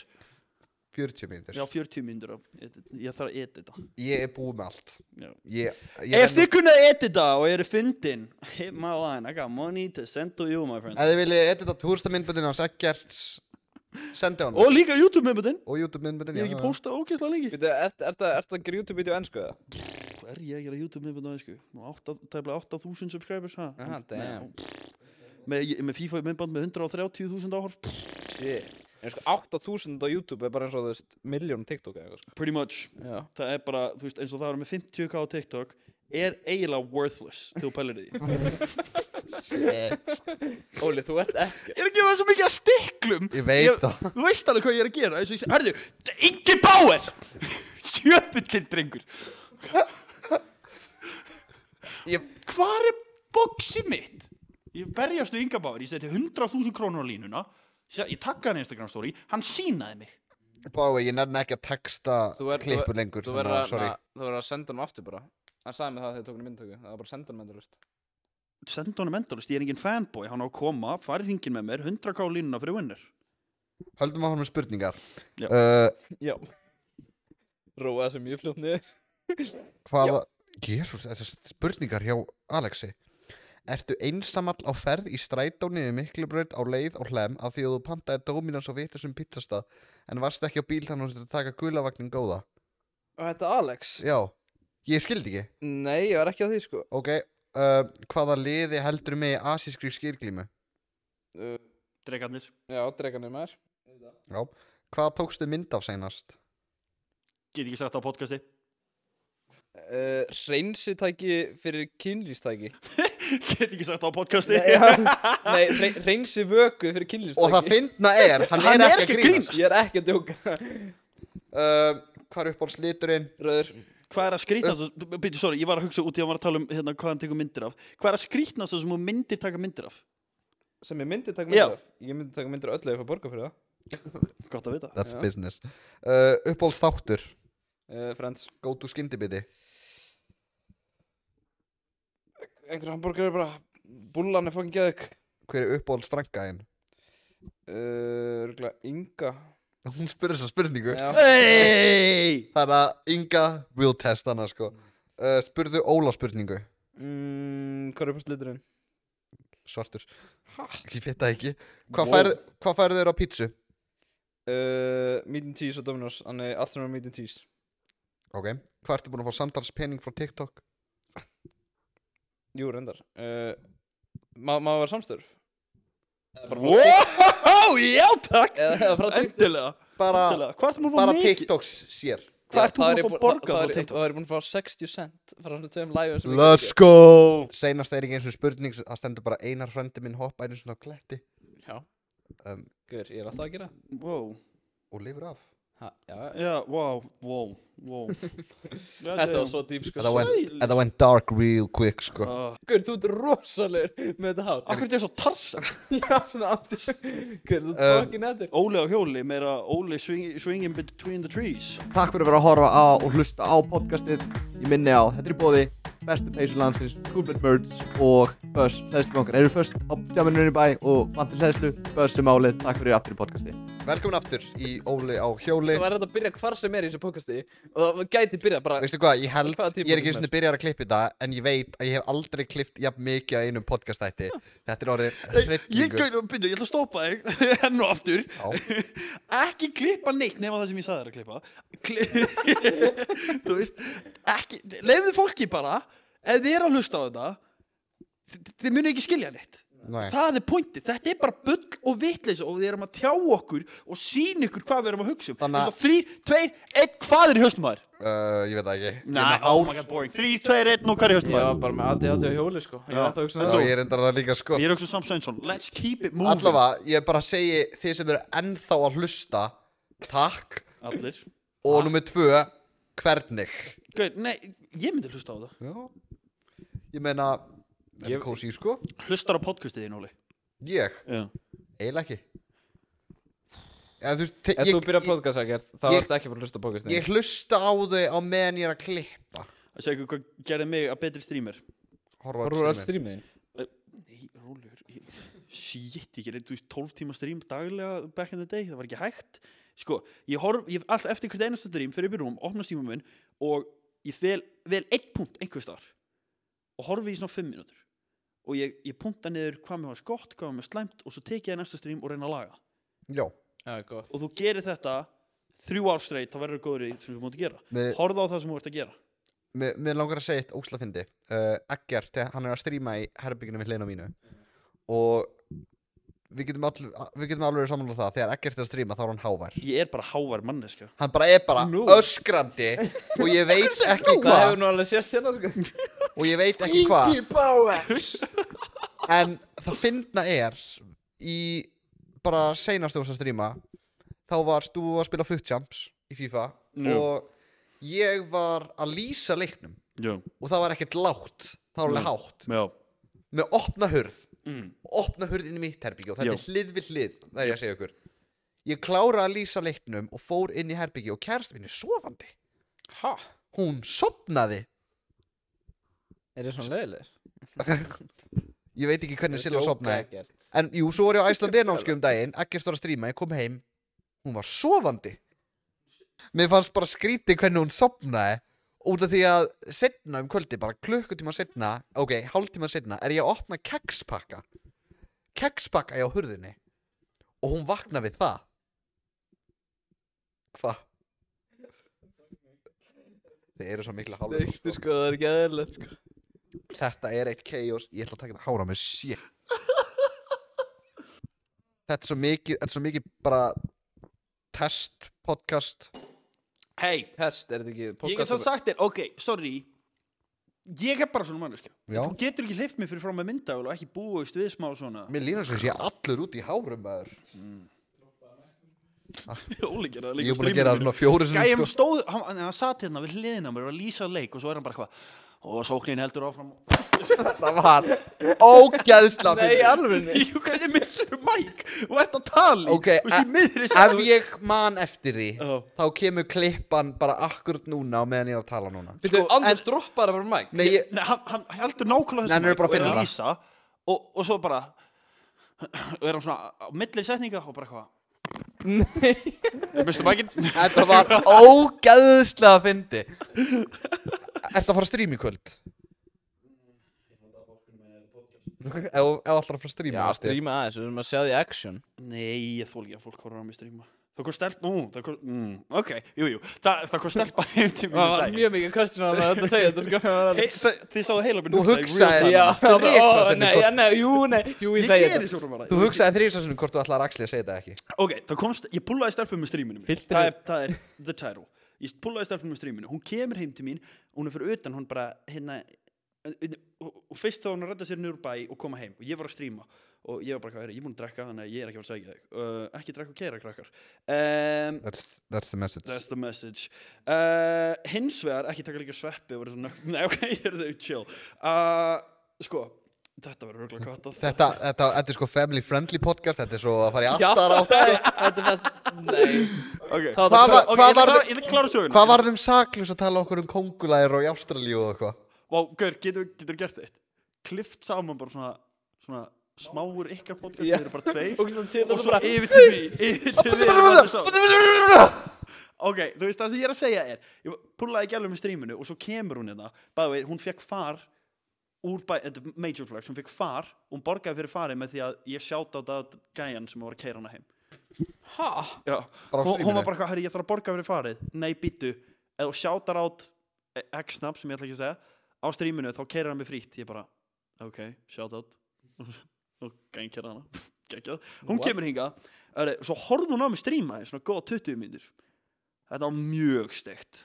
S1: 40 mínútur
S2: Já, 40 mínútur af edit- Ég þarf að edita
S1: Ég er búið með allt
S2: Já.
S1: Ég, ég
S2: Ef þið kunnaði edita og eru fyndin Hit my line, I got money to send to you, my friend
S1: Ef þið viljið edita túrstamindbundin hans Eggerts Sendi hann
S2: Og líka YouTube-myndin
S1: og YouTube-myndbundin
S2: Ég hef ekki postað ógeðslega lengi
S3: Býtu, ert er, er, er það að gera YouTube-vídeó ennsku eða?
S2: Pff, Er ég að gera YouTube-myndbund á þessu? Nú, átta- tæplega 8000 subscribers, ha?
S3: Ah, damn.
S2: Með, með, ég- með FIFA-myndband með 130.000 áhorf
S3: Shit. En sko 8000 á YouTube er bara eins og þú veist miljón TikTok eða eitthvað sko.
S2: Pretty much
S3: Já.
S2: það er bara, þú veist, eins og það er með 50k á TikTok er eiginlega worthless þegar þú pælir í því.
S3: Óli, þú ert ekki
S2: Ég er að gefa svo mikið að stiklum.
S1: Ég veit það.
S2: Þú veist alveg hvað ég er að gera. eins og ég seg- Herðu, Ingi Bauer! Sjöfullin drengur.
S1: Ég,
S2: Hvar er boxi mitt? Ég berjast við Inga Bauer, ég seti 100.000 krónur á línuna, ég ég takka hann Instagram story, hann sínaði mig.
S1: Bái, ég nefn ekki að texta klippur lengur
S3: Þú
S1: þannig
S3: verður
S1: að,
S3: að,
S1: sorry.
S3: na- þú verður að senda hann aftur bara Hann sagði mér það þegar þið tók hann í myndtöku Það var bara að senda hann myndtöku
S2: Senda honum endalist, ég er engin fanboy, hann á að koma, farið hringin með mér, 100k á línuna fyrir vinnur.
S1: Höldum að hann með spurningar
S2: Já.
S1: uh,
S3: Já Róa þessu mjög fljótt niður
S1: Hvaða Jésús, þessar spurningar hjá Alexi Ertu einsamall á ferð í strætó niður miklubraut á leið á hlem af því að þú pantaði Dominos og vitið sem pizzastað en varst ekki á bíl þannig að þú þurftir að taka gulavagnin góða
S3: Og þetta er Alex
S1: Já, ég skildi ekki
S3: Nei, ég var ekki að því sko
S1: Ok, uh, hvaða liði heldur með í asískri skýrglímu?
S3: uh,
S2: Dregarnir,
S3: Já, dregan er maður
S1: Já Hvað tókstu mynd af seinast?
S2: get ekki sagt það á podcasti.
S3: uh, Reynsitæki fyrir kynlýstæki
S2: get ekki sagt það á podcasti.
S3: Nei, já. Nei rey, reynsi vöku fyrir kynlýstæki
S1: Og það finna er, hann,
S2: Hann
S1: er ekki að grínast
S3: Ég er ekki að djóka
S1: uh, Hvað er uppáhalds liturinn?
S3: Röður
S2: Hvað er að skrýtnast uh, Býtu, sorry, ég var að hugsa út í að maður að tala um hérna, hvað hann tekur myndir af Hvað er að skrýtnast sem þú myndir taka myndir af?
S3: Sem ég myndi taka
S2: Já.
S3: myndir af. Ég myndi taka myndir af öllu ef ég fór borga fyrir það
S2: Gott að vita
S1: That's
S3: Já.
S1: business uh, Uppáhalds þáttur,
S3: uh, Friends
S1: go to skyndibiti
S3: Einhver hambúrgar er bara Búllan er fokkin geðug
S1: Hver er uppáhalds frænka þinn?
S3: Örgla uh, Inga
S1: Hún spurði þessa spurningu
S3: Já
S2: Hey!
S1: Þannig að Inga will test hana sko uh, Spurðu Óla spurningu
S3: mm, Hvað er upp á sliturinn?
S1: Svartur Ég veit það ekki Hvað færðu hvað færðu þér á pítsu?
S3: Uh, meat and cheese og Dominos Þannig allt sem er meat and cheese
S1: Ok Hvað ertu búin að fá samtalspening frá TikTok?
S3: Jú, reyndar uh, Má má það vera samstörf?
S2: Wow, já takk
S3: Eða eða frá TikTok
S2: Endilega,
S1: Bara,
S2: endilega. Hvað ertu múin að
S1: bara
S2: fá mikið?
S1: TikToks sér
S2: Hvað
S3: Já,
S2: ert þú
S3: það
S2: búin
S3: er
S2: að
S3: ég
S2: fá
S3: búinn-
S2: borgað
S3: það-
S2: frá
S3: það er-
S2: TikTok?
S3: Það er búin að fá 60 cent frá svona tveim live sem ég gerði.
S1: go Seinast er ekki eins og spurning Það stendur bara einar frendi minn hoppa einu svona á kletti
S3: Já
S1: um,
S3: Guður, ég er alltaf að gera
S2: Wow,
S1: Og lifur af
S3: ha, já, já.
S2: já, wow, wow, wow
S3: Þetta var svo dýp sko
S1: Þetta went,
S2: sæl.
S1: þetta went dark real quick sko
S2: Ah.
S3: Guður, þú ert rosalegur með þetta hár
S2: Akkur þetta er svo tarsan
S3: Já, svona aftur Guður, þú ert
S1: Um,
S3: fokkin eftir
S2: Óli á hjóli, meira Óli swing, swinging between the trees
S1: Takk fyrir að vera að horfa á og hlusta á podcastið Ég minni á, þetta er bóði Bestu peysur landsins, Coolbet Merge og Buzz, hlæðslubankar eru först á tjáminunni bæ og vantir hlæðslu Buzz er málið, takk fyrir aftur í podcasti Velkomin aftur í Óli á hjóli
S3: Það var hægt að byrja hvar sem er í þessu podcasti Og það gæti byrja bara
S1: Veistu hvað, ég held,
S3: Hvaða
S1: ég er ekki
S3: tímapunktur
S1: svona byrjar að klippa þetta en ég veit að ég hef aldrei klippt jafn mikið að einum podcastætti Þetta er orðið
S2: Ég,
S1: hryllingur
S2: gaur, byrju, ég ætla að stoppa þig enn og aftur
S1: Já.
S2: ekki klippa neitt nema það sem ég sagði þér að klippa Kli þú veist ekki, leiðu fólki bara ef þið eru að hlusta á þetta þið, þið munið ekki skilja neitt
S1: Nei.
S2: það er pointið, þetta er bara bull og vitleysa og við erum að tjá okkur og sína ykkur hvað við erum að hugsa um
S1: Þannig að-
S2: þannig að þrýr, tveir, einn, hvað er í höstum maður?
S1: Uh, ég veit það ekki
S2: Nei, oh my god, boring þrýr, tveir, einn og hvað er í höstum
S3: Ég
S2: maður?
S3: var bara með ADHD á hjóli sko Ég
S2: Já.
S3: var það að hugsa um
S2: En
S1: Já,
S2: svo-
S3: það
S1: ég er endar það líka sko
S2: ég er auksum Sam Sveinsson, let's keep it moving
S1: Allavega, ég bara segi þið sem eru ennþá að hlusta Takk
S2: allir
S1: Og nummer tvö, hvernig
S2: Gaur, nei, ég myndi hlusta á það
S1: Já Ég meina, þetta
S3: Ég-
S1: er kósi sko
S2: hlustar á podcastið í nóli
S1: Ég,
S2: já
S1: eiginlega ekki eða, þú veist,
S3: Ef
S1: ég,
S3: þú byrjar
S1: ég,
S3: podcast ekkert, þá
S1: ég-
S3: ertu ekki fyrir að hlusta á podcastin
S1: ég hlusta á þau á meðan ég er að klippa
S2: að segja ykkur hvað gerði mig að betri streamer
S1: Horfa á
S3: Horfur all
S1: streamið.
S3: streamið þín
S2: Nei, rólegur ég- Shit, ég gerði, þú veist, 12 tíma stream daglega back in the day, það var ekki hægt Sko, ég horf, ég all eftir hvert einasta stream fyrir upp í rúm, opna síma minn og ég fel, vel einn punkt einhvers staðar og horfi í svona 5 mínútur og ég, ég punta niður hvað mér var skott, hvað mér var slæmt og svo tek ég næsta stream og reyna að laga
S1: já,
S3: Já, gott
S2: og þú gerir þetta þrjú ár streit, þá verður þú góður í því sem þú mútt að gera
S1: mér,
S2: Horfðu á það sem þú ert að gera
S1: mér, mér langar að segja eitt ósla fyndi uh, Eggert, þegar hann er að stríma í herbygginu við hliðina á mínu og við getum, all, við getum alveg samanlega það þegar Eggert er að stríma þá er hann hávær
S2: Ég er bara hávar manneska
S1: hann bara er bara
S3: Nú.
S1: öskrandi og ég veit ekki
S3: Það
S1: hvað
S3: hefur nú alveg sést hérna, sko
S1: og ég veit ekki hvað en það fyndna er í bara seinast þú varst að stríma þá varst þú að spila footjumps í FIFA
S2: Jú.
S1: og ég var að lýsa leiknum
S2: Já,
S1: og það var ekkert lágt það var alveg
S2: Nei.
S1: hátt
S2: já,
S1: með opna hurð
S2: mm.
S1: opna hurð inn í mitt herbyggi og þetta
S2: Já.
S1: er hlið við hlið það er ég að segja ykkur ég klára að lýsa leiknum og fór inn í herbyggi og kærst minni sofandi
S3: Ha?
S1: hún sopnaði
S3: Er þið svona leiðilegir?
S1: ég veit ekki hvernig Silva sopnaði
S3: Ekkert
S1: En jú, svo var ég á Æslandi námski um daginn Ekkert var að stríma, ég kom heim Hún var sofandi Mér fannst bara skrítið hvernig hún sopnaði Út af því að setna um kvöldi Bara klukkutíma setna Ok, hálftíma setna er ég að opna kekspakka Kekspakka ég á hurðinni Og hún vakna við það Hva? Þið eru svo mikla hálfur
S3: Steikti, sko, það er ekki aðeinlegt, sko
S1: Þetta er eitt chaos Ég ætla að taka þetta hára með shit Þetta er svo mikið Þetta er svo mikið bara Test podcast
S2: Hei,
S3: Test, er þetta ekki
S2: Ég get
S3: podcast
S2: svo sagt þér, ok, sorry Ég er bara svona manneskja
S1: Já.
S2: Þú getur ekki hleyft mér fyrir frá með myndagölu og ekki búist við smá svona
S1: Mér línar sem sé allur út í hárum maður
S2: Óli gerði það
S1: Ég er
S2: líka
S1: búin að gera það svona sko. fjóri sem
S2: Gæm stóð, hann, hann- hann satt hérna við hliðina á mér og var að lýsa leik og svo er hann bara hvað Og sóknin heldur áfram
S1: Þetta var ógæðsla
S3: Nei, alveg
S2: Jú, hvernig missur mæk og ert að tala í
S1: Ok,
S2: Þú veist, í miðri
S1: Ef
S2: sagði
S1: ég man eftir því
S2: Já.
S1: Þá kemur klippan bara akkurat núna Og meðan ég er að tala núna
S3: Býttu, Anders droppar bara mæk
S1: Nei, ég,
S2: Nei, hann, hann heldur nákvæmlega
S1: Nei, hann er
S2: mic
S1: bara að
S2: og er
S1: finna
S2: að
S1: það.
S2: lýsa og, og svo bara og er hann svona á milli setninga og bara hvað Nei Mistu mækin
S1: þetta var ógæðsla fyndi Ertu að fara að stríma í kvöld? Ef ef þú ætlar að fara að
S3: Já,
S1: stríma veistu.
S3: stríma aðeins, við erum að sjá því action
S2: Nei, ég þól ekki að fólk horfa á mig stríma Það kom stelpa, ú, það kom, mm, ok, jú, jú Þa, Það kom stelpa heim til mínu
S3: Það var
S2: dag
S3: mjög mikið kvörstin á það að segja þetta sko
S2: hey, það- Þið sáðu heilabinn
S1: Þú hugsaðir-
S3: Já,
S1: það var- ó,
S3: nei,
S1: nei,
S3: já,
S1: já,
S3: nei, jú, nei, jú, ég
S2: Ég
S3: segi
S2: gerir
S3: þetta
S2: svona bara
S1: Þú hugsaði þrísasunum hvort þú ætlar að axli að segja þetta ekki
S2: Ok, það komst, ég púlaði stelpum með stríminu mínu.
S3: Fylltir
S2: það
S3: þig?
S2: er, það er the title Ég púlaði stelpum með stríminu, hún kemur heim til mín Hún er fyrir utan, hún bara, hérna og, og fyrst þá hún að redda sér niður úr bæ og koma heim og ég var að stríma og ég var bara, hvað er, ég er búin að drekka þannig að ég er ekki að fara að segja þig uh, ekki drekka og keira krakkar um,
S1: That's, that's the message
S2: That's the message uh, Hins vegar, ekki taka líka sveppi og verið svona, Nei, ok, ég er þau chill uh, Sko, þetta verður röglega kattað
S1: þetta, þetta, þetta er sko family friendly podcast Þetta er svo að fara í
S3: Já,
S1: aftar á
S3: nei, þetta er fast, nei
S2: okay.
S3: Það
S1: Hvað
S3: var
S1: var-
S2: Ok, ég ætla að klára- ég ætla að klára söguna
S1: Hvað varðum saklaus að tala okkur um kongulæðir og í Ástralíu og eitthvað?
S2: Vá, Gaur, getur þú gert eitt? Klift saman bara svona, svona smáur ykkar podcast
S3: Já.
S2: Þeir eru bara tveir
S3: Og svona til
S2: Og
S3: þetta
S2: svo
S3: bara
S2: yfir til því Yfir til því er allir sá. Ok, þú veist það sem ég er að segja er Ég púlaði gælum með stríminu og svo kemur hún hérna Bæði, hún fekk far úr bæ, þetta er major flex, hún fekk far hún borgaði fyrir farið með því að ég sjátt á það gæjan sem var að keira hana heim
S3: Ha?
S2: Já,
S1: Bara á
S2: hún, hún
S1: streaminu?
S2: var bara eitthvað, herri, ég þarf að borga fyrir farið Nei, býttu, eða sjáttar átt X-nab, sem ég ætla ekki að segja Á stríminu, þá keirir hann mig frítt Ég bara, ok, sjátt átt Og gæn keira hana Geggjað. Hún
S3: What?
S2: kemur hinga Svo horfði hún á mig stríma í svona góða 20 mínútur Þetta var mjög steikt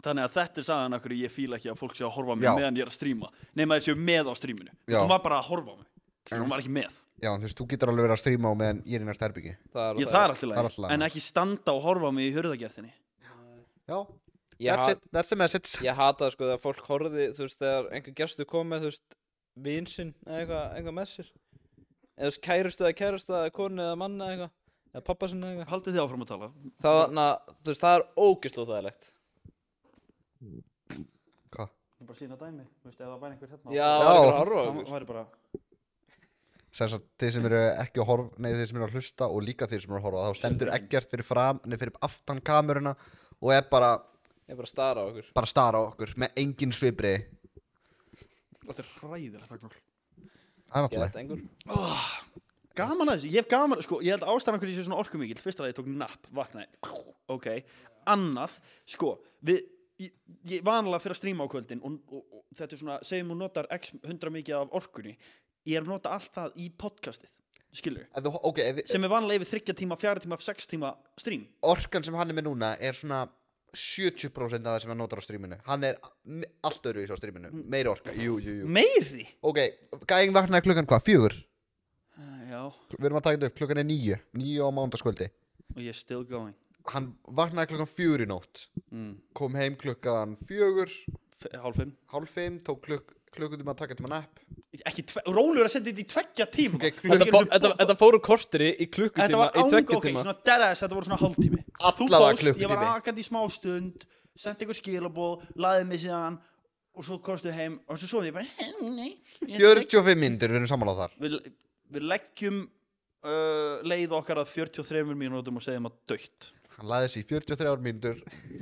S2: Þannig að þetta er sagðan okkur ég fíla ekki að fólk sé að horfa á mig
S1: Já.
S2: meðan ég er að stríma Nei, maður séu með á stríminu
S1: Já.
S2: Hún var bara að horfa á mig Skilur, Hún var ekki með
S1: Já, en þú veist, þú getur alveg verið að stríma á meðan ég er í næst herbyggi
S3: Það
S2: Ég, það er alltaf
S1: Það er allt í
S2: læg
S1: lagi.
S2: En ekki standa og horfa á mig í hurðagerðinni
S1: Já,
S3: Ég
S1: that's
S3: ha-
S1: it, that's the message
S3: Ég hata sko þegar fólk horfði, þú veist, þegar einhver gestur kom með, þú veist, vinsinn eða eitthvað, eitthvað með sér. Eða þú veist, kærustu eða kærustu eða konu eða manna eða eitthvað. eða pappa sinna eða eitthvað
S2: Haldið þið áfram að tala
S3: þá, na, þú veist, það er ógislu þægilegt
S1: Hva?
S2: Bara sína dæmi, þú veist, ef það væri einhver hérna
S3: já, það var
S1: Já.
S3: eitthvað að horfa á
S2: Það
S3: okkur.
S2: væri bara
S1: Sem sagt, þeir sem eru ekki að horfa, nei þeir sem eru að hlusta og líka þeir sem eru að horfa Þá stendur ekkert fyrir fram, nei fyrir aftan kameruna Og er bara,
S3: ég er bara að stara á okkur
S1: bara að stara á okkur með engin svipri
S2: Þetta er hræðilegt þagnál
S1: Það er
S3: ég
S1: náttúrulega
S3: ætti engur
S2: oh, Gaman að þessu, ég hef gaman, sko, ég held ástæðan hvernig ég sé svona orkumikill Fyrst að ég tók napp, vaknaði, ok Annað, sko, við Ég, ég vanalega fyrir að stríma á kvöldin og, og, og þetta er svona, segjum hún notar x 100 mikið af orkunni ég er að nota allt það í podcastið skilur,
S1: Ef þú, ok, ef, þið-
S2: sem er vanalega yfir 3 tíma, 4 tíma, 6 tíma strím
S1: orkan sem hann er með núna er svona 70% af það sem hann notar á stríminu Hann er m- allt öðru í svo stríminu, meiri orka, jú, jú, jú
S2: meiri,
S1: Ok, gæðing vaknaði klukkan hvað, fjögur?
S2: já,
S1: Við erum að taka þetta upp, klukkan er níu, níu á mándaskvöldi
S2: og ég er still going
S1: Hann vaknaði klukkan fjögur í nótt
S2: mm.
S1: Kom heim klukkan fjögur,
S2: f- hálf 5
S1: hálf fimm, tók klukk klukkutum að taka þetta mann app
S2: ekki, tve- Rólur að senda þetta í tveggja tíma
S1: Ok, klukk-
S2: Þetta
S3: þetta,
S2: er eins
S3: fó,
S2: og-
S3: þetta, þetta fóru korteri í
S2: Þetta
S3: klukkutíma
S2: var
S3: í
S2: ánga,
S3: tveggja
S2: ok,
S3: tíma
S2: svona derðast, þetta voru svona hálftími Þú
S1: Allavega
S2: ég var
S1: klukkutími.
S2: akandi í smá stund Sendi ykkur skilabóð, laðið mig síðan Og svo komstu heim Og svo svoði ég bara, "Hei, nei ég ætla ekki."
S1: 45 myndir, við erum samanláð þar
S2: Við, við leggjum uh, leið okkar að 43 mínútum og segjum að dögt
S1: Hann laði sér í 43 myndir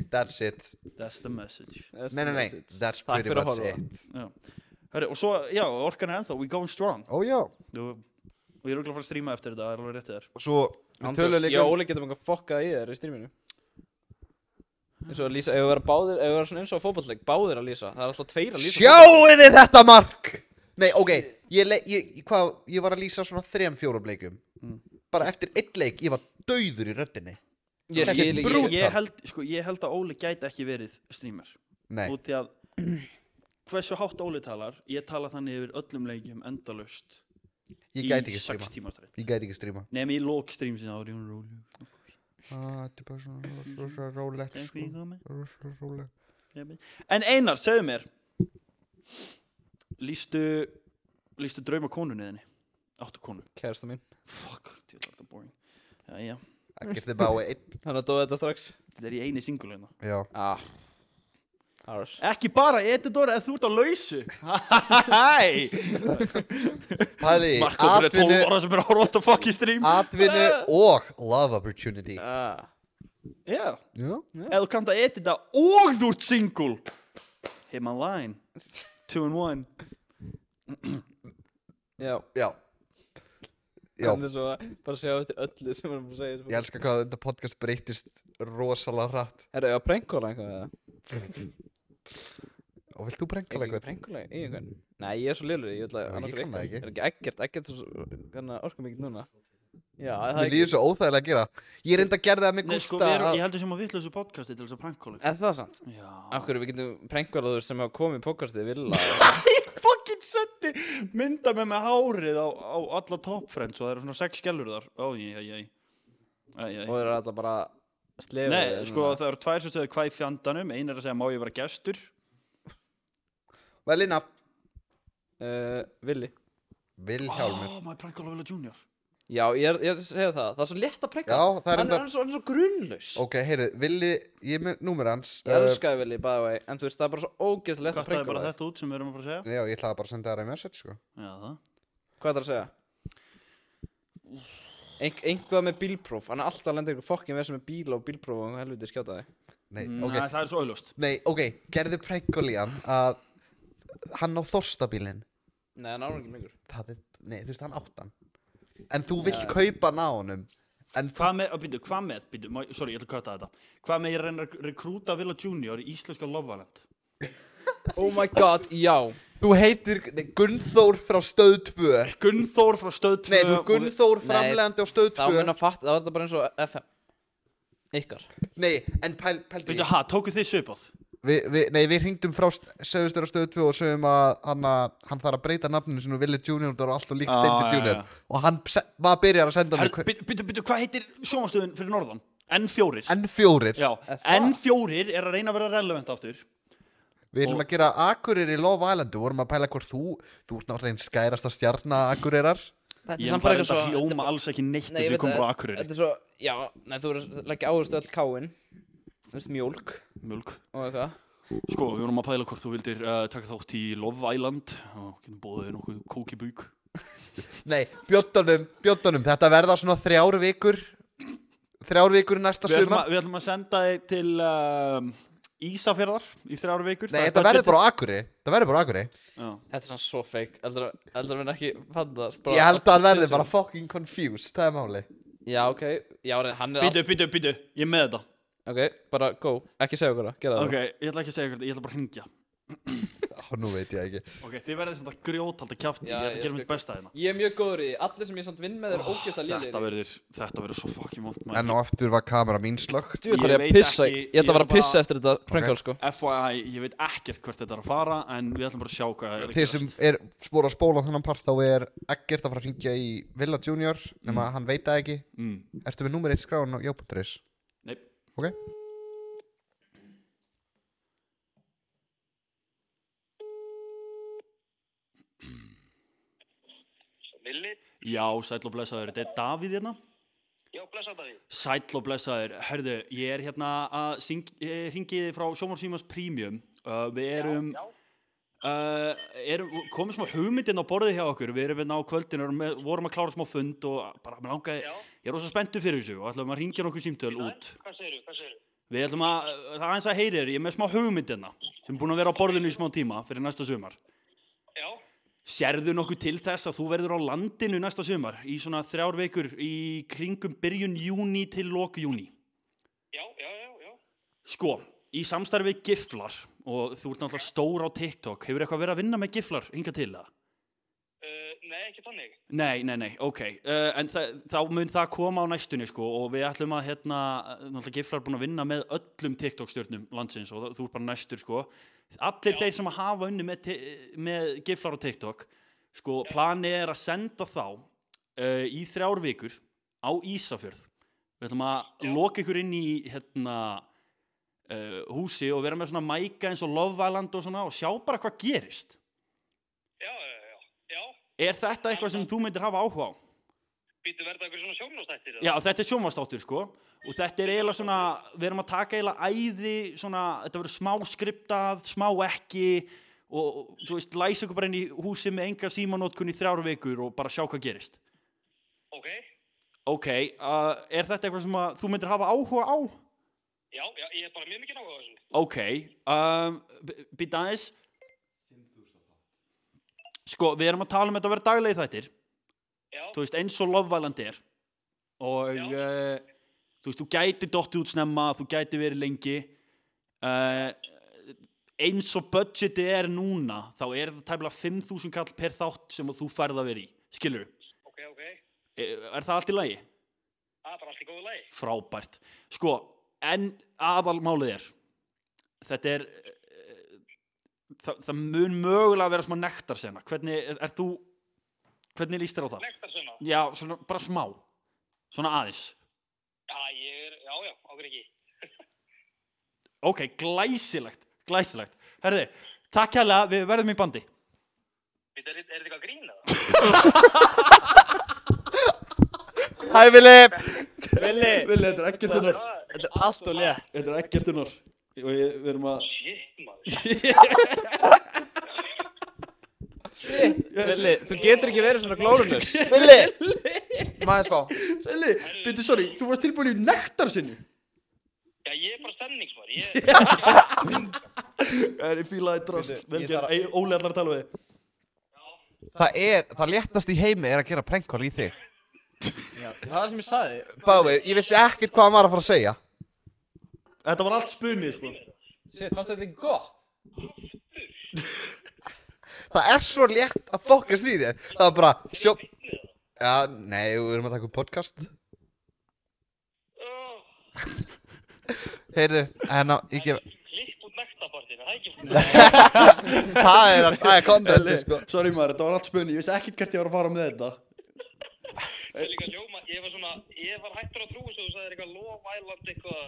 S1: That's it
S2: That's the message
S3: Yes,
S1: Nei, nei, nei,
S3: yes, yes.
S1: that's
S3: Takk
S1: pretty
S3: fyrir að
S1: much
S3: horfa.
S1: it
S2: já. Hörru, Og svo, já, orkan er ennþá, we going strong
S1: Ó já
S2: Og, og ég er örugglega að fara að stríma eftir þetta, það er alveg réttið þér
S1: Og svo, við
S3: Andrés,
S1: tölum
S3: Ég
S1: líka
S3: og
S1: um-
S3: Óli getum eitthvað fokkað í þér í stríminu eins og að lýsa, ef við verðum báðir ef við verðum svona eins og að fótballleik, báðir að lýsa það er alltaf tveir að lýsa
S1: Sjáu þið þetta mark Nei, ok, ég, le- ég, ég, hvað, ég var að lýsa svona þrem fjórum leikum
S3: Mm.
S1: Bara eftir einn leik, ég var dauður í röddinni
S3: ég
S1: Þetta er
S3: skil
S1: brú-
S3: ekki
S1: Brútal.
S2: ég held, sko, ég held að Óli gæti ekki verið streamer
S1: Nei,
S2: út í að hversu hátt Óli talar ég tala þannig yfir öllum leikjum endalust
S1: ég gæti
S2: í
S1: ekki
S2: 6
S1: stríma
S2: tíma strætt
S1: Ég gæti ekki stríma
S2: nefn í lók strím sinna ári hún rólu
S1: Ah, Þetta er bara svona rosa rólegt sko. Rosa rólegt
S2: en Einar, segðu mér lístu lístu drauma konunni þinni áttu konu
S3: kærasta mín
S2: fuck, djöfull er þetta boring já, já,
S1: Ekkert þið báði einn
S3: hann að dóða þetta strax
S2: þetta er í eini single hérna
S1: Já
S3: ah Ars.
S2: ekki bara Editor eða þú ert á lausu hæ
S1: Pæli, í
S2: Markópur er 12
S1: atvinnu-
S2: ára sem er að horfa á þetta fucking stream
S1: atvinnu og love opportunity
S3: Ah.
S2: já
S1: Já
S2: Ef þú kannt að edita og þú ert single Hit my line Two and one
S3: Já,
S1: Já, Já.
S3: hann er svo að bara segja eftir öllu sem hann búið að segja sko.
S1: ég elska hvað þetta podcast breytist rosalega hratt
S3: Er það að prankkóla einhvað eða?
S1: Og vilt þú brenga
S3: Ekki
S1: eitthvað?
S3: prankkóla í einhvern? Nei, ég er svo lélur í, ég ætla
S1: Já,
S3: að
S1: ég
S3: annars
S1: kann það ekki.
S3: Er ekki ekkert, ekkert svo, þannig að orka mikið núna Já, það
S1: Mér líður svo óþægilega að gera Ég reynda að gera það með
S2: Nei, sko,
S1: Gústa
S2: við erum,
S1: að-
S2: ég heldur sem að vitla þessu podcasti til þess að prankóla
S3: Er það sant?
S2: Já
S3: Af hverju við getum prankkólaður sem hafa komið í podcastið vilja
S2: Fucking sendi mynda með með hárið á, á alla top friends og það eru svona sex skellur þar Ó, jæ, jæ, jæ
S3: og er alltaf bara slefa
S2: Nei, sko, það eru tvær sem segja hvað í fjandanum Ein er að segja má ég vera gestur
S1: Velina
S3: uh, Vili
S1: Vilhjálmur
S2: Ó, maður prankóla vel að junior
S3: Já, ég er, ég er að segja það, það er svo létt að pranka
S1: Já, það er
S3: Hann er
S1: enda
S3: hann er svo, hann er svo grunlaus
S1: Ok, heyrðu, villi, ég er með númer hans
S3: Ég elskaði Vili, by the way, en þú veist, það er bara svo ógeðslega létt að
S2: Kattaði bara
S3: prankkóla
S2: þetta út sem við erum að fara að segja
S1: Uh, Já, ég ætlaði bara að senda það í message sko
S2: Já, það
S3: Hvað er það að segja? Ein, einhvað með bílpróf, hann er alltaf að lenda ykkur fokkin með sem er bíl og bílpróf og einhver helviti skjáta þig
S1: Nei, ok,
S2: Mm, Nei, það er svo auðlust
S1: nei, ok, gerðu prenggolían að hann á þorstabilinn
S3: Nei, hann ára ekki lengur
S1: Það er, nei, þú veist, hann átt hann En þú vill kaupa hann á honum En þú,
S2: Hvað með, að býtu, hvað með, býtu, má- sorry, ég ætla að köta þetta Hvað með ég reyna að rekrúta Villa Junior í íslenska Lovaland
S3: Oh my god, já
S1: þú heitir nei, Gunnþór frá stöð 2
S2: Gunnþór frá stöð 2
S1: Nei, þú ert Gunnþór
S3: Nei,
S1: framlegandi á stöð
S3: Það var
S1: 2
S3: minn að fatta, það var þetta bara eins og FM Ykkar
S1: Nei, en pæl, pældu
S2: Býtu, ha, tóku þið svipað
S1: vi, vi, Nei, við hringdum frá sögustur á stöð 2 og sögum að hann, að- hann þarf að breyta nafninu sinu Willi Junior, það var alltaf líkt
S2: Ah,
S1: Steindi
S2: já,
S1: Junior
S2: já.
S1: og hann se- var að byrja að senda hann hver...
S2: Býtu, býtu, býtu, hvað heitir sjónastöðun fyrir norðan? N4
S1: N4
S2: Já,
S3: Er það?
S2: N4 er að reyna að vera relevant aftur
S1: Við ætlum
S2: Og-
S1: að gera Akureyri í Love Island Við vorum að pæla hvort þú Þú ert náttúrulega einn skærasta stjarna Akureyrar
S3: Þetta
S2: Ég
S3: er
S2: er
S3: samt bara
S2: náttúrulega
S3: eitthvað svo
S2: að
S3: þetta er
S2: hljóma
S3: bara-
S2: alls ekki neitt
S3: Nei,
S2: Nei,
S3: ég
S2: við
S3: veit
S2: komum
S3: það.
S2: frá Akureyri
S3: Þetta er svo, já, nei, þú verður að leggja áherslu á öll káin Þú veist, mjólk
S2: Mjölk
S3: og eitthvað
S2: Sko, við vorum að pæla hvort þú vildir uh, taka þátt í Love Island og getum bóðið þér nokkuð kókibúk
S1: Nei, bjóttunum, bjóttunum, þetta verða svona þrjár vikur Þrjár vikur næsta
S2: við, ætlum
S1: suma
S2: að- við ætlum að senda þig til um, Ísafjörðar í þrjára vikur
S1: Nei, þetta verður bara á Akurey Þetta verður bara á Akurey
S2: bara
S3: Þetta er svona svo feik, eldur að minn ekki fandast
S1: Ég held að hann verði bara fucking confused, það er máli
S3: Já, ok, já, re- hann er all...
S2: Býtu, býtu, býtu, ég er með þetta
S3: Ok, bara go, ekki segja okkur það, gera það
S2: Ok, ég ætla ekki að segja ykkur þetta, ég ætla bara að hringja
S1: Ó, nú veit ég ekki
S2: Ok, þið verðið svona grjótald að kjafti, ég
S3: Já,
S2: ætla
S3: ég
S2: að gera
S3: skal-
S2: mitt besta hérna
S3: Ég er mjög góður í, því. allir sem ég samt vinn með er ógjösta liðir
S2: Oh, Þetta verður, þetta verður svo fucking vond
S1: Enn og aftur var kamera mín slögt
S3: Ég þarf
S2: Ég
S3: að
S2: veit
S3: pissa,
S2: ekki-
S3: ég ætla
S2: ég
S3: að fara
S2: ætla
S3: að pissa
S2: bara-
S3: eftir þetta pröngkál, sko
S2: FYI, ég veit ekkert hvert þetta er að fara en við ætlum bara að sjá hvað er að
S1: Þið sem
S2: gerast.
S1: er spóra að spóla þennan part þá er ekkert að fara að hringja í Villa Junior nema hann veit það ekki
S2: mm.
S1: Ertu með númer 1 skráin á já.is?
S2: Nei,
S1: Ok
S5: Villi?
S2: já, sæll og blessaður, þetta er Davíð hérna
S5: Já, blessa Davíð.
S2: Sæll og blessaður, herðu, ég er hérna að syng, eh, hringi þið frá Sjómarsvímas Premium uh, Við erum,
S5: Já,
S2: uh, erum komið smá hugmyndin á borðið hjá okkur Við erum hérna á kvöldin, erum með, vorum að klára smá fund og bara, mér langaði,
S5: já.
S2: ég er rosa spenntu fyrir þessu og ætlum að hringja nokkuð símtöl út
S5: Hvað segirðu, hvað segirðu?
S2: Við ætlum að, það er aðeins að heyri þér, ég er með smá hugmyndina sem er búin að vera á borðinu í smá tíma fyrir næsta sumar.
S5: Já,
S2: Sérðu nokkuð til þess að þú verður á landinu næsta sumar í svona þrjár vekur í kringum byrjun júni til lok júni?
S5: já, já, já, já.
S2: Sko, í samstarfi við Giflar og þú ert náttúrulega stór á TikTok, hefur eitthvað verið að vinna með Giflar hinga til það?
S5: Uh, nei, ekki þannig.
S2: Nei, nei, nei, ok, uh, en þa þá mun það koma á næstunni sko og við ætlum að hérna, náttúrulega Giflar er búin að vinna með öllum TikTok-stjórnum landsins og þa- þú ert bara næstur sko. Allir þeir sem að hafa unni með, ti- með Giflar og TikTok, sko, planið er að senda þá uh, í þrjár vikur á Ísafjörð. Við ætlum að loka ykkur inn í hérna uh, húsi og vera með svona mæka eins og Love Island og svona og sjá bara hvað gerist.
S5: Já, já, já, já. Já,
S2: Er þetta eitthvað sem þú myndir hafa áhuga á?
S5: býtu verða ykkur svona sjónastættir.
S2: Já, þetta er sjónvastáttur sko og þetta er eiginlega svona, við erum að taka eiginlega æði svona, þetta verður smá skriptað, smá ekki og og, þú veist, læsa okkur bara inn í húsi með enga símanótkun í þrjár vikur og bara sjá hvað gerist.
S5: Ok,
S2: Ok, uh, er þetta eitthvað sem að þú myndir hafa áhuga á?
S5: já, já, ég er bara mjög mikið náhuga á þessu.
S2: Ok, um, býta aðeins. Sko, við erum að tala um þetta að vera daglegi þættir.
S5: Já,
S2: þú veist, eins og Love Island er og
S5: Já.
S2: uh, þú veist, þú gæti dotti út snemma þú gæti verið lengi uh, eins og budgetið er núna þá er það tæmlega 5.000 kall per þátt sem að þú færð að vera í, skilur
S5: ok, ok.
S2: er það allt í lagi?
S5: Það er bara allt í góðu lagi.
S2: Frábært, sko en aðalmálið er þetta er uh, það, það mun mögulega vera smá nektar sena, hvernig er, er þú hvernig líst þér á það?
S5: Lektar svona.
S2: Já, svona, bara smá svona aðeins
S5: Já, ég er, já, já, okkur ekki.
S2: Ok, glæsilegt, glæsilegt. Herði, takk hérlega, við verðum í bandi.
S5: Býtu, er, er þetta eitthvað grín eða?
S1: Hæ Vili!
S3: Vili,
S2: Vili, þetta er ekkert unnar.
S3: þetta er allt og létt
S2: Þetta er ekkert unnar. Og ég, við erum að...
S5: Shit, maður.
S3: Vili, þú getur ekki verið svona glórunus
S1: Vili! Maður spá
S2: Vili, byrju, sorry, þú varst tilbúin í nektar sinni.
S5: Já, ég er bara stemningsmaður. Ég,
S2: Það er fílaði drast,
S1: Bíddu,
S2: vel
S1: ég
S2: gera.
S1: þarf
S2: Ei, Óli allar að tala við. þig.
S1: Það er, það léttast í heimi er að gera prankall í þig
S3: Það var sem ég saði
S1: Báði, ég vissi ekkert hvað hann var að fara að segja
S2: Þetta var allt spunnið, sko.
S3: Sér, fannst þetta gott?
S1: Það er svo létt að fokast í þér Það er bara, sjó Já, nei, við erum að taka upp podcast
S5: oh,
S1: Heyrðu, hérna, ég gef
S5: klipp út nektarpartinu, það er ekki fyrir.
S1: Það er, það er kontentið, sko
S2: sorry maður, þetta var allt spunnið. Ég vissi ekkert hvert ég var að fara með þetta.
S5: Það er líka ljóma, ég var svona, ég var hættur að trúa svo þú sagðir eitthvað lofælandi eitthvað,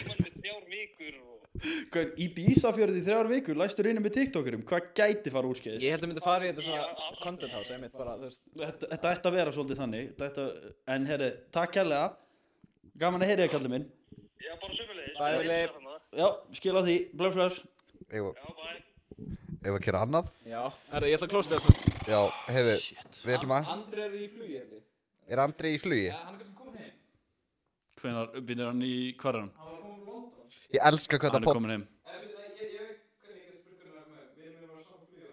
S5: tímanum með þrjár vikur og...
S2: Hver, í Bísafjörði í þrjár vikur, læstur inni með TikTokurum, hvað gæti fara úrskeiðis?
S3: Ég held að myndi fara í þetta
S5: Já,
S3: svona
S5: allt
S3: content house einmitt bara, þú veist
S2: Þetta, þetta ætti að vera svolítið þannig, þetta, en herri, takk kærlega, gaman að heyri að kalli minn.
S5: Já, bara sömulegis.
S3: Bæðileg.
S2: Já, skila því, blöf, blöf.
S1: Eigum
S5: hérna. Já, bæ.
S1: eigum við að gera annað?
S3: Já, herra, ég ætla að klósa þetta
S1: Já, heyrðu, við erum að
S3: Andri er í flugi, hefði
S1: Er Andri í flugi?
S3: hann er kannski komin heim
S2: Hvenar byrjar hann í hverjan?
S3: Hann var komin frá London
S1: Ég elska hvað
S2: Hann
S1: það
S2: er
S1: pop
S2: komin heim.
S3: Ég veit, Eh, ég, ég veit hvernig ég get spurt hvernig hann er með Við erum að vera saman flugi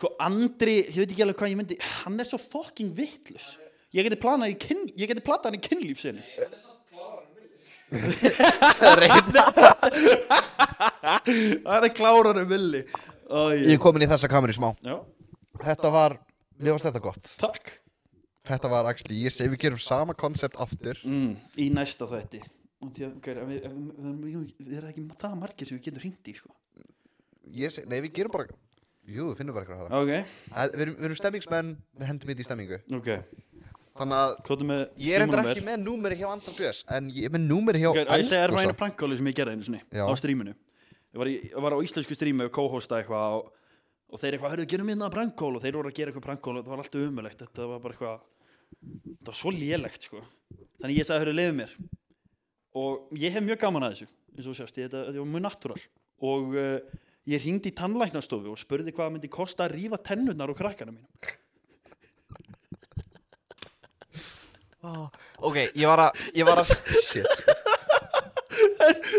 S2: Sko, Andri, ég veit ekki alveg hvað ég myndi, hann er svo fucking vittlus. Ég geti planað í kyn, ég geti platað hann í kynlífsinni.
S3: Hann er samt klárar en vilja hérna.
S2: Það er klárar um villi.
S1: Ég er komin í þessa kameru smá
S2: Já,
S1: Þetta var, mér fannst þetta gott
S2: takk.
S1: Þetta var actually, ég segi við gerum sama koncept aftur
S2: Mm, í næsta þætti. Og Því að, gæri, við, við, við, við, við erum ekki það margir sem við getum hringt í, sko.
S1: Ég segi, nei við gerum bara Jú, við finnum bara eitthvað að
S2: Ok,
S1: hafa Við erum, við erum stemmingsmenn, við hendum ít í stemmingu
S2: ok.
S1: Þannig að
S2: Kvotum með
S1: ég er endur ekki með númeri hjá Andra Björns En ég er með númeri hjá
S2: Ok, að ég segja þér
S1: Andra
S2: bara einu
S1: Björns.
S2: prankóli sem ég gerði einu sinni
S1: Já.
S2: á stríminu ég var, í, ég var á íslensku strími og co-hosta eitthvað og, og þeir eitthvað, hörðu, gerum minna prankól og þeir voru að gera eitthvað prankól og þetta var alltaf umulegt þetta var bara eitthvað þetta var svo lélegt sko þannig ég sagði, hörðu, leiðu mér og ég hef mjög gaman að þessu eins og þú sést, ég, þetta, þetta var mjög natúral og uh, ég hringdi í tannlæknastofu og spurði hvað það myndi kosta að rífa tennurnar á krakkana mínum
S1: Ok, ég var að, ég var að Shit,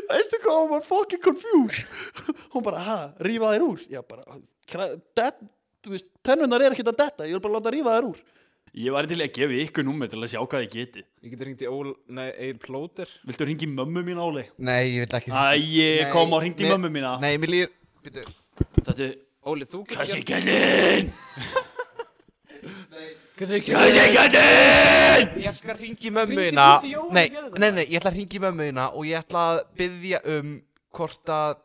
S2: veistu hvað, hún var fucking confused hún bara, ha, rífa þær úr já, bara, kra- det- þú veist, tennunar er ekkert að detta, ég vil bara láta rífa þær úr ég var til að gefa ykkur númer til að sjá hvað ég geti
S3: Ég geti ringt í Ól, nei, Eir Plóter
S2: viltu ringi mömmu mín áli?
S1: nei, ég vil ekki
S2: Æi,
S1: Nei,
S2: kom og hringdu í
S1: mér-
S2: mömmu mína
S1: Nei, mér líður Býtu,
S2: þetta,
S3: Óli, þú getur
S2: kassi kallinn
S3: Kansi ekki
S2: kassi kallinn
S1: Ég skal ringi
S3: Hringdu-
S1: mömmuina
S3: hringdu í Jóhann
S1: nei,
S3: og gerðu þetta.
S1: nei, nei, ég ætla að ringi mömmuina Og ég ætla að byggja um Hvort að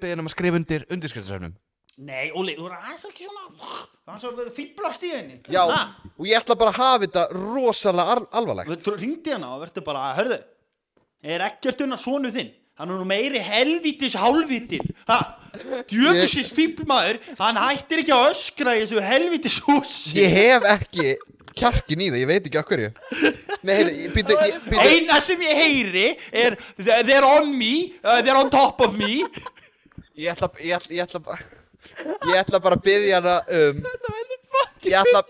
S1: byggja um að skrifa undir undirskriftasöfnum
S2: nei, Óli, þú er aðeins ekki svona það er svo að vera fýtblast í henni
S1: Já, og ég ætla bara að hafa þetta rosalega al alvarlegt
S2: þú ringdi hana og verður bara, hörðu er ekkert unna sonu þinn hann er nú meiri helvítis hálvítin ha, djöfusins fíblmaður hann hættir ekki að öskra í þessu helvítis húsi
S1: Ég hef ekki kjarkin í það, ég veit ekki okkur ég Nei, heyrðu, býtu, býtu
S2: eina sem ég heyri er they're on me, uh, they're on top of me
S1: Ég ætla, ég ætla, ég ætla bara Ég ætla bara að byggja hana um Þetta verður fokkin Ég ætla,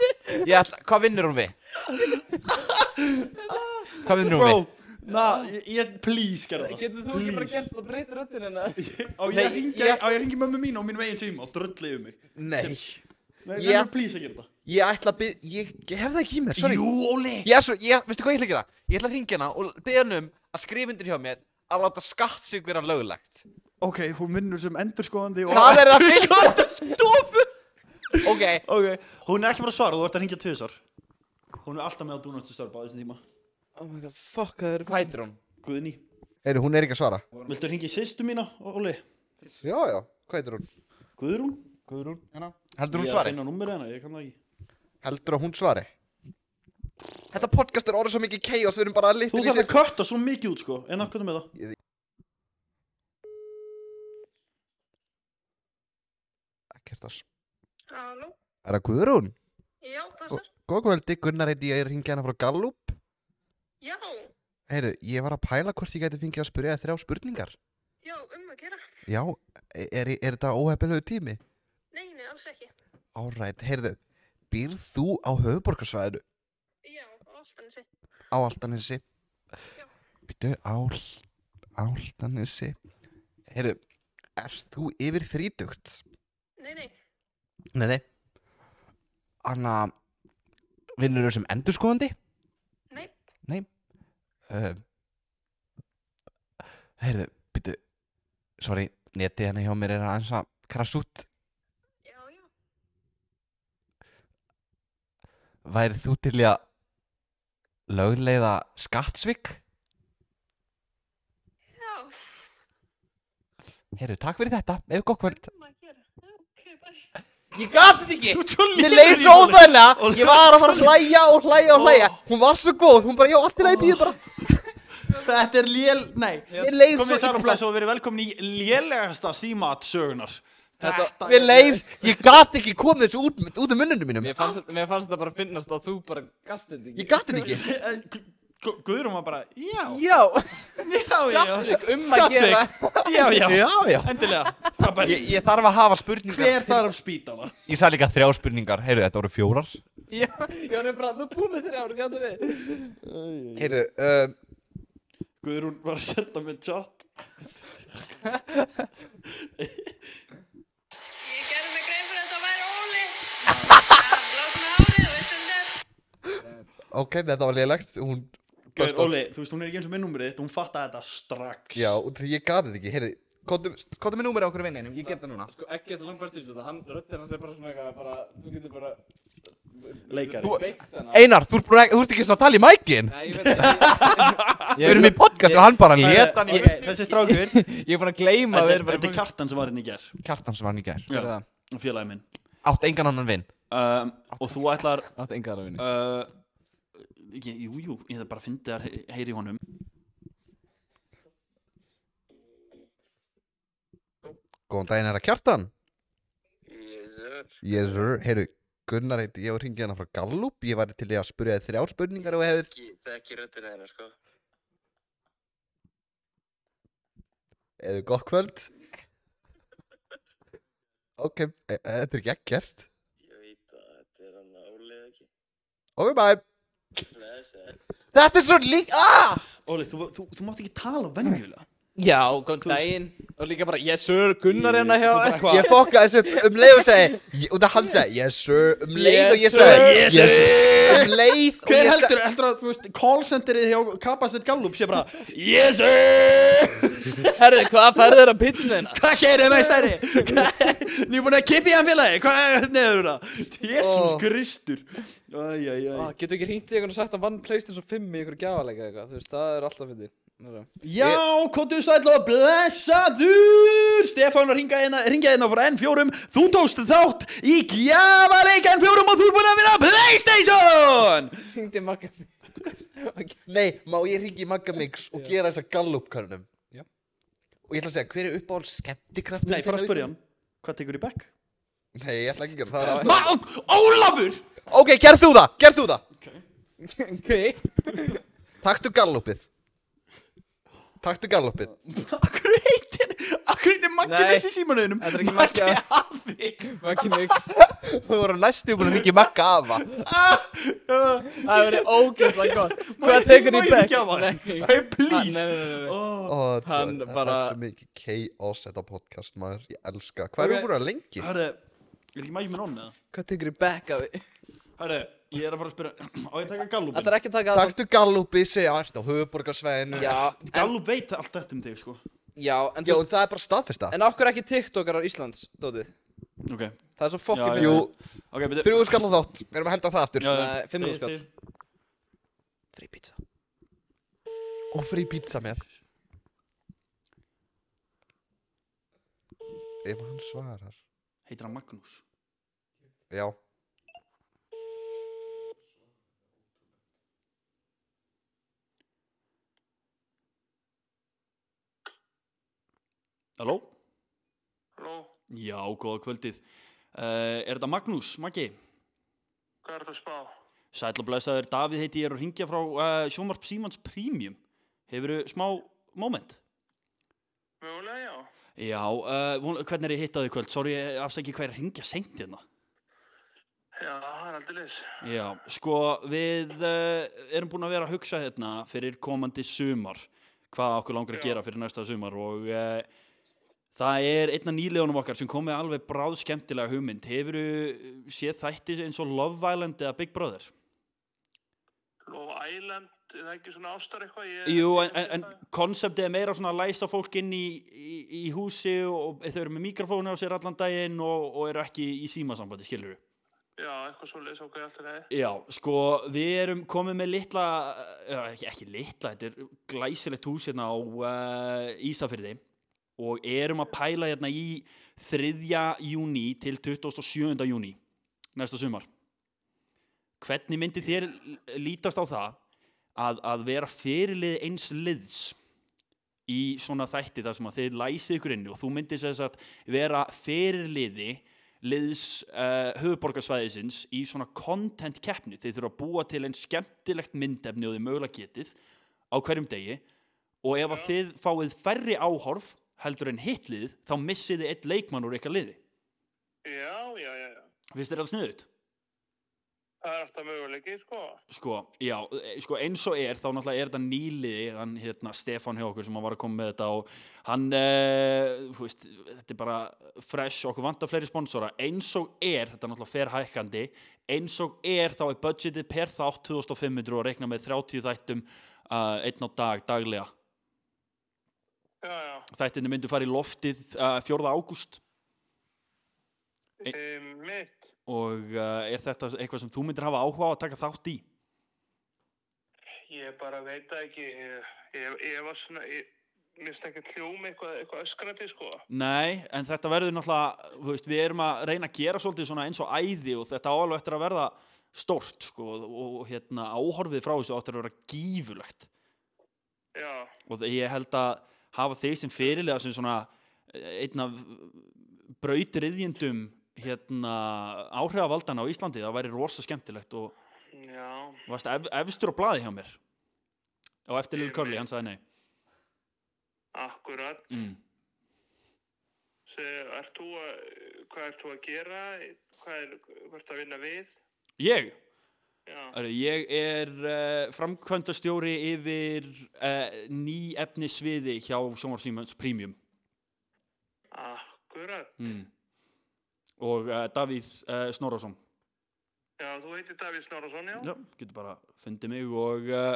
S1: ég ætla, hvað vinnur hún við? Hvað vinnur hún
S2: bro,
S1: við?
S2: na, ég, ég please gerða það
S3: Getur þú ekki bara
S2: Please.
S3: gert og breytir hérna. röddinn hennar?
S2: á ég
S1: Nei,
S2: að ringi,
S1: ég-
S2: á ég að ringi mömmu mín á mínum eigin síma og drölla yfir mig
S1: Nei,
S2: nei,
S1: Ég-
S2: yeah. nefnum please að gera það
S1: ég ætla að byggja, ég, ég hef það ekki í mér, sorry
S2: jú, Óli
S1: Ég er svo, ég, veistu hvað ég ætla að gera? Ég ætla að ringja hana og byggja hana um að skrifa undir hjá mér að láta skatt sig vera löglegt
S2: ok, hún vinnur sem endurskoðandi og-
S1: Það er það fyrst
S2: Endurskoðandi.
S1: Ok,
S2: Ok, hún er ekki bara að svara, þú ert að ringja tvisar Hún er alltaf með á Donuts störpa á þessum tíma
S3: Oh my god, fuck, það eru um.
S1: hvað heitir hún?
S2: Guðni,
S1: Eru, hún er ekki að svara
S2: viltu að ringja sýstu mína, Óli?
S1: Já, já, hvað heitir hún?
S2: Guðrún?
S1: Guðrún hérna. Heldur hún
S2: Ég er að
S1: svari?
S2: finna númerið hennar, ég kann það ekki
S1: Heldur að hún svari? Þetta podcast er orðið svo mikið chaos, við erum bara að
S2: Þú
S1: litla
S2: þarf að kötta svo mikið út sko, en af hvernig með það?
S1: Ekkert þess
S6: Halló?
S1: Er það Guðrún?
S6: Já, passar.
S1: Góð kvöldi, Gunnar heiti ég er hingið hana frá Gallup
S6: Já,
S1: Heyru, ég var að pæla hvort ég gæti fengið að spyrja þér þrjá spurningar
S6: já, um að gera.
S1: Já, e- er, er þetta óhefnilegu tími?
S6: Nei, nei, alls ekki.
S1: Árætt, heyrðu, býrð þú á höfuborgarsvæðinu
S6: Já, ástæðansi.
S1: á Altanesi?
S6: Já.
S1: Býtu, á Altanesi? Heyrðu, erst þú yfir þrítugt?
S6: Nei, nei,
S1: Nei, nei. Anna, vinnur þú sem endurskoðandi?
S6: nei,
S1: Uh, heyrðu, býtu, sorry, netið henni hjá mér er aðeins að krasa út.
S6: já, já.
S1: Værið þú til í að lögleiða skattsvik?
S6: Já,
S1: Heyrðu, takk fyrir þetta, ef gott kvöld.
S6: um að gera. Já, ok, bye.
S1: Ég gat þetta ekki!
S2: Þú ert svo
S1: Mér
S2: lélegur í
S1: leið svo
S2: Óli.
S1: óþægilega, ég var að fara að hlæja og hlæja og hlæja
S2: Ó.
S1: Hún var svo góð, hún bara, já, allt í lagi býðu bara
S2: Þetta er lél, nei
S1: Mér leið
S2: Komið
S1: svo
S2: sæl og
S1: illa
S2: bless og verið velkomin í lélegasta símat sögunar
S3: Þetta-
S1: Mér leið, ég gat ekki komið þessu út, út um munnunum mínum
S3: Mér fannst, þetta- mér fannst þetta bara finnast að þú bara gast þetta ekki
S1: Ég gat þetta ekki
S2: Guðrum var bara, já
S3: Já,
S2: já, já.
S3: skattrygg um að
S2: Skattrygg.
S3: gera
S2: Já, já,
S1: Já, já
S2: endilega Það er bara,
S1: Ég, ég þarf að hafa spurningar
S2: hver þarf spítala?
S1: Ég sagði líka þrjá spurningar, heyrðu þetta voru fjórar
S3: Já, ég var nefnir bara, þú er búinn með þrjá, þú gætu við
S1: Heyrðu, um,
S2: Guðrún var að senda mér chat
S6: Ég gerði mig grein fyrir að þetta væri Óli. Það er blásna árið, þú veist um þetta.
S1: ok, þetta var lélegt Hún
S2: Guður,
S1: Best of-
S2: Óli, þú veist, hún er ekki eins og minn númerið þitt, hún fatta þetta strax
S1: Já, og því ég gat þetta ekki, heyrðu Kóttu kóttu mér númerið á okkur vinninum, ég get það núna
S3: Sko, ekki þetta langt best í þetta, hann, röddinn hans er bara svona eitthvað, bara, þú getur bara
S2: Leikari
S1: Þú-
S3: beitt hana
S1: Einar, þú ert, búin að- þú ert ekki svona að tala í mækin
S3: Nei, ég veit ekki
S1: Við erum í podcast og hann bara lét hann í
S2: Ok, Þessi strákur Þetta
S3: Ég er búinn að gleyma að við
S2: er-
S3: erum bara
S2: þetta er kartan sem var henni í ger
S1: Kjartan sem var hann í gær
S3: Hver er það?
S2: Félagi minn
S1: Átt engan annan vinn
S2: um, Og þú ætlar
S3: Átt enga aðra vinni
S2: uh, ég, Jú, jú, ég hef bara fyndið að he- heyri í honum
S1: Góðan daginn, herra Kjartan Yes, sir Heyrðu, Gunnar heiti, ég var hringið hana frá Gallup Ég var til í að spurja þið þrjá spurningar og hefur
S5: Þekki röddina þeirra, sko.
S1: Eða gott kvöld Ok, e- e- þetta er ekki ekkert
S5: Ég veit að þetta er hann að ólið ekki. eh.
S1: Ok, bye
S5: Blessa.
S1: Þetta er svo lík ah!
S2: Óli, þú, þú, þú mátt ekki tala venjulega
S3: Já, góðan daginn Og líka bara, yes sir, Gunnar er hérna
S2: Þú bara
S3: hjá
S2: eitthvað-
S1: Ég fokka þessu upp um leið og segi Og það hann segi, yes sir Um leið og ég
S3: Yes,
S1: segi,
S3: sir.
S2: Yes,
S1: sir Um leið og
S2: Hver
S1: ég
S2: heldur, heldur að, þú veist, call centerið hjá Kapastet Gallup sé bara Yes, sir!
S3: Herðu, hvað færðu þér að pitchinu þeirna?
S2: Hvað segir þau meistari? Nú búin að kippa í hann félagi, hvað er neður það? Jésús
S1: Ó.
S2: Kristur Æj, æj, æj
S3: Ah, Getur ekki hringt í einhvern og sagt að vann Playstation 5 í einhverju gjáleika eitthvað Þú veist, það er alltaf fyndið Herra.
S2: Já, kontu sæll og blessaður Stefán ringaði hérna, ringaði hérna frá N4 Þú tókst þátt í gjafaleik N4 og þú er búin að vinna Playstation
S3: Hringdi marga Ok.
S1: Nei, má ég ringi í Magga Mix og gera þessa Gallup-könnum
S3: Já.
S1: Og ég ætla að segja, hver er uppáhald skemmtikraftur
S2: Nei, fara að spyrja hann Hvað tekur í bekk?
S1: Nei, ég ætla ekki að gera það
S2: Ma, Ólafur!
S1: Ok, gerð þú það, gerð þú það
S3: Ok
S1: Taktu Gallupið Taktu Gallupið
S2: Akkur heitir, akkur heitir Maggi
S3: Nei,
S2: Mix í símanuðinum
S3: þetta er ekki Maggi
S2: afi
S3: Maggi Mix
S1: Þú voru næstu búin að mikið Magga afa
S2: Ah,
S3: Það verður ógeðslega gott Hvað
S2: ég-
S3: tekur
S2: má
S3: í
S2: ég
S3: back?
S2: ekki hafa það?
S3: Nei.
S2: Hey,
S3: Ha, Nei,
S2: please Oh.
S3: nei, nei, nei.
S2: Ó,
S1: Ó,
S3: Hann
S1: það- Það
S3: bara-
S1: er svo mikið chaos þetta podcast maður Ég elska, hvað okay.
S2: Ok.
S1: erum við búin að lengi?
S2: Hörru, er ekki Maggi með nonni eða?
S3: Hvað tekur í back af því?
S2: Hörru, ég er að fara að spyrja Á ég að taka Gallupin?
S3: Það er ekki að taka það
S1: Taktu Gallupið, segja allt á höfuborgarsvæðinu
S3: Já, en,
S2: Gallup veit allt þetta um þig sko
S3: já, en,
S1: Já,
S3: þú
S1: en það er bara staðfesta
S3: en okkur ekki TikTokar á Íslands, Dótið
S2: Ok,
S3: Það er svo fokkin
S2: Já,
S3: fyrir
S1: Jú,
S2: ok, betur
S1: þrjú skall á þátt, við erum að henda það aftur
S3: Nei, fimm þúsund skall. Þri pizza
S1: Og frí pizza með Ef hann svarar
S2: Heitir hann Magnús
S1: Já
S2: Halló?
S5: Halló,
S2: Já, góða kvöldið uh, Er þetta Magnús, Maggi?
S5: hvað er þetta að spá?
S2: Sæll og blessaður, Davíð heiti ég er að ringja frá uh, Sjómarp Símans Premium Hefurðu smá moment?
S5: Mögulega, já.
S2: Já, uh, von- hvernig er ég hittað í kvöld? Sorry, afsæki hvað er að ringja seint hérna
S5: Já, það er aldrei leys.
S2: Já, sko við uh, erum búin að vera að hugsa hérna fyrir komandi sumar hvað okkur langar að
S5: Já.
S2: gera fyrir næsta sumar og uh, það er einna nýlegunum okkar sem kom með alveg bráð skemmtilega hugmynd hefur þú séð þætti eins og Love Island eða Big Brother?
S5: Love Island, er það ekki svona ástar eitthvað? Ég,
S2: Jú, en, Eh, en, en konceptið er meira svona að læsa fólk inn í, í, í húsi og þau eru með mikrofónu á sér allan daginn og, og eru ekki í símasambandi, skilur þú?
S5: Já, eitthvað svo leys okkur alltaf leið.
S2: Já, sko, við erum komið með litla, eh, ekki, ekki litla, þetta er glæsilegt hús hérna á uh, Ísafyrði og erum að pæla hérna í 3. júni til 27. júni næsta sumar. Hvernig myndi þér l- lítast á það að, að vera fyrirlið eins liðs í svona þætti þar sem að þið læsið ykkur inni og þú myndir sem sagt vera fyrirliði liðs uh, höfuborgarsvæðisins í svona content keppni þið þurfa að búa til einn skemmtilegt myndefni og þið mögulega getið á hverjum degi og ef að þið fáið færri áhorf heldur en hitlið þá missið þið eitt leikmann úr ykkar liði
S5: Já, já, já, já.
S2: finnst þér það sniðut?
S5: Það er alltaf möguleiki, sko.
S2: Sko, já, e, sko eins og er þá náttúrulega er þetta nýliði, hann hérna Stefán hjá okkur sem var að koma með þetta og hann, eh, þú veist, þetta er bara fresh, okkur vantar fleiri sponsora eins og er, þetta er náttúrulega fer hækkandi eins og er þá er budgetið per þátt 2500 og reikna með 30 þættum uh, einn á dag, daglega
S5: Já, já.
S2: þættinni myndu fara í loftið uh, 4. ágúst E-
S5: Um, mitt.
S2: og uh, er þetta eitthvað sem þú myndir hafa áhuga á að taka þátt í?
S5: Ég bara veit það ekki. Ég, ég, ég var svona... Ég, Mér finnst ekki hljómi eitthvað, eitthvað öskrandi, sko.
S2: Nei, en þetta verður náttúrulega, þú veist, við erum að reyna að gera svolítið svona eins og æði og þetta áalveg eftir að verða stórt, sko, og, og hérna áhorfið frá þessu áttur að vera gífulegt
S5: Já,
S2: og þe- ég held að hafa þig sem fyrirlega sem svona eh, einn af brautriðjendum hérna áhrifavaldana á Íslandi, það væri rosa skemmtilegt og
S5: já.
S2: þú varst ef, efstur á blaði hjá mér og eftir Lil Curly, hann sagði nei
S5: Akkurat.
S2: mm.
S5: Se, ert þú að, hvað ert þú að gera? Hvað er, hvað ert að vinna við?
S2: Ég?
S5: Já,
S2: Herru, Ég er uh, framkvæmdastjóri yfir uh, ný efnisviði hjá Sjónvarsvímans Premium
S5: akkurat.
S2: mm. og uh, Davíð uh, Snorason
S5: Já, þú heitir Davíð Snorason, já?
S2: Já, getur bara fundið mig og uh,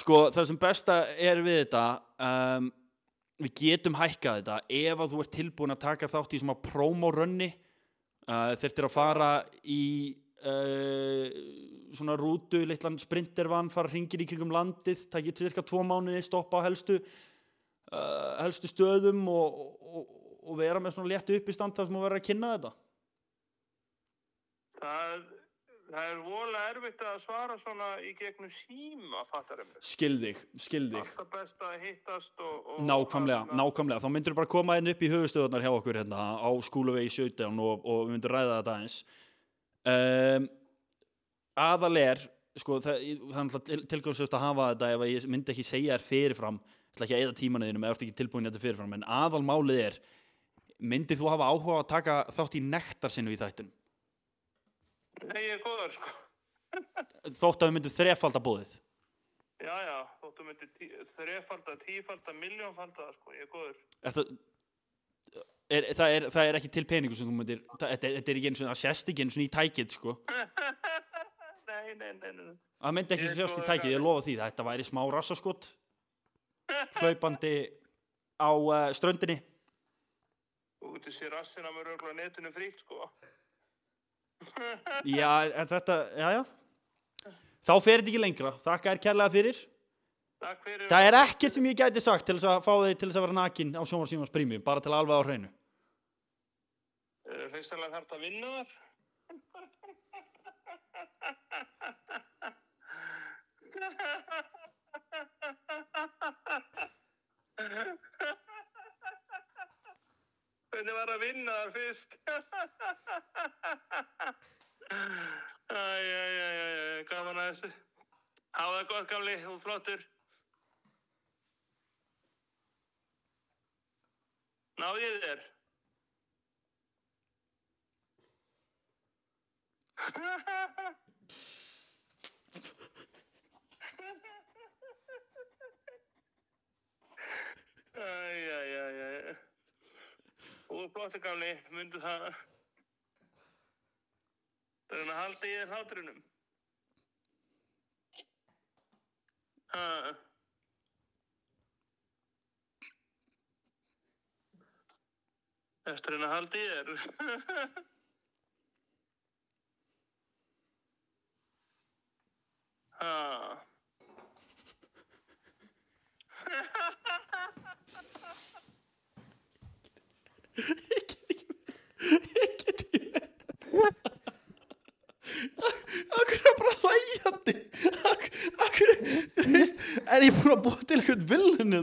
S2: sko það sem besta er við þetta um, við getum hækkað þetta ef að þú ert tilbúin að taka þátt í svona promorunni uh, þurftir að fara í uh, svona rútu litlan sprintervan, fara hringir í kringum landið takið cirka tvo mánuði stoppa á helstu uh, helstu stöðum og, og, og vera með svona léttu uppistand þar sem þú verður að kynna þetta
S5: Það, það er vola erfitt að svara svona í gegnum síma, fattar um
S2: skilðig, skilðig
S5: Alltaf best að hittast og... og
S2: Nákvæmlega,
S5: hérna,
S2: nákvæmlega, þá myndur bara koma inn upp í höfustöðunar hjá okkur hérna á skúluvegi 17 og, og við myndur ræða þetta aðeins um, Aðal er, sko, það, ég- það er náttúrulega til, tilgangslöst að hafa þetta ef að ég myndi ekki segja þér fyrirfram ég ætla ekki að eða tímanuðinum eða ertu ekki tilbúin í þetta fyrirfram en aðal málið er myndir þú hafa áhuga á að taka þátt í nektarsinu í þættinum
S5: Nei, ég er góður, sko.
S2: þótt að við myndum þrefalda búðið
S5: Já, já, þóttu myndi tí, þrefalda, tífalda, miljónfalda, sko, ég er góður.
S2: er það, er, það, er, það er ekki til peningur sem þú myndir það- þetta þetta er ekki eins og það sést ekki eins og í tækið sko.
S5: Nei, nei, nei, nei.
S2: það myndi ekki
S5: Ég
S2: sést
S5: er
S2: í
S5: góður
S2: tækið, ég
S5: afi.
S2: lofa því þetta væri smá rassaskot hlaupandi á uh, ströndinni
S5: Þú getur sér rassina mér örgulega netinu frítt, sko.
S2: já, en þetta, já, já þá fer þetta ekki lengra, þakka er kærlega fyrir
S5: Takk fyrir.
S2: það er ekkert sem ég gæti sagt til þess að fá þig til þess að vera nakin á sjónvarsímans prími bara til alveg á hreinu
S5: Hreistanlega Eh, þarf að vinna þar. Hvernig var að vinna þar fyrst? Æ, æ, æ, æ, æ, gaman að þessu. Hafa það gott, gamli, þú ert flottur. Náðu ég þér? Æ, æ, æ, æ. Þú er flottur, gamli, myndu það. Það er hann að halda í þér hátrinum. Ha. Eftir henni að halda í þér. ha.
S2: ég get ekki Akkur er bara hlæjandi Akkur, akkur er ég búin að búa til einhvern hérna? villinu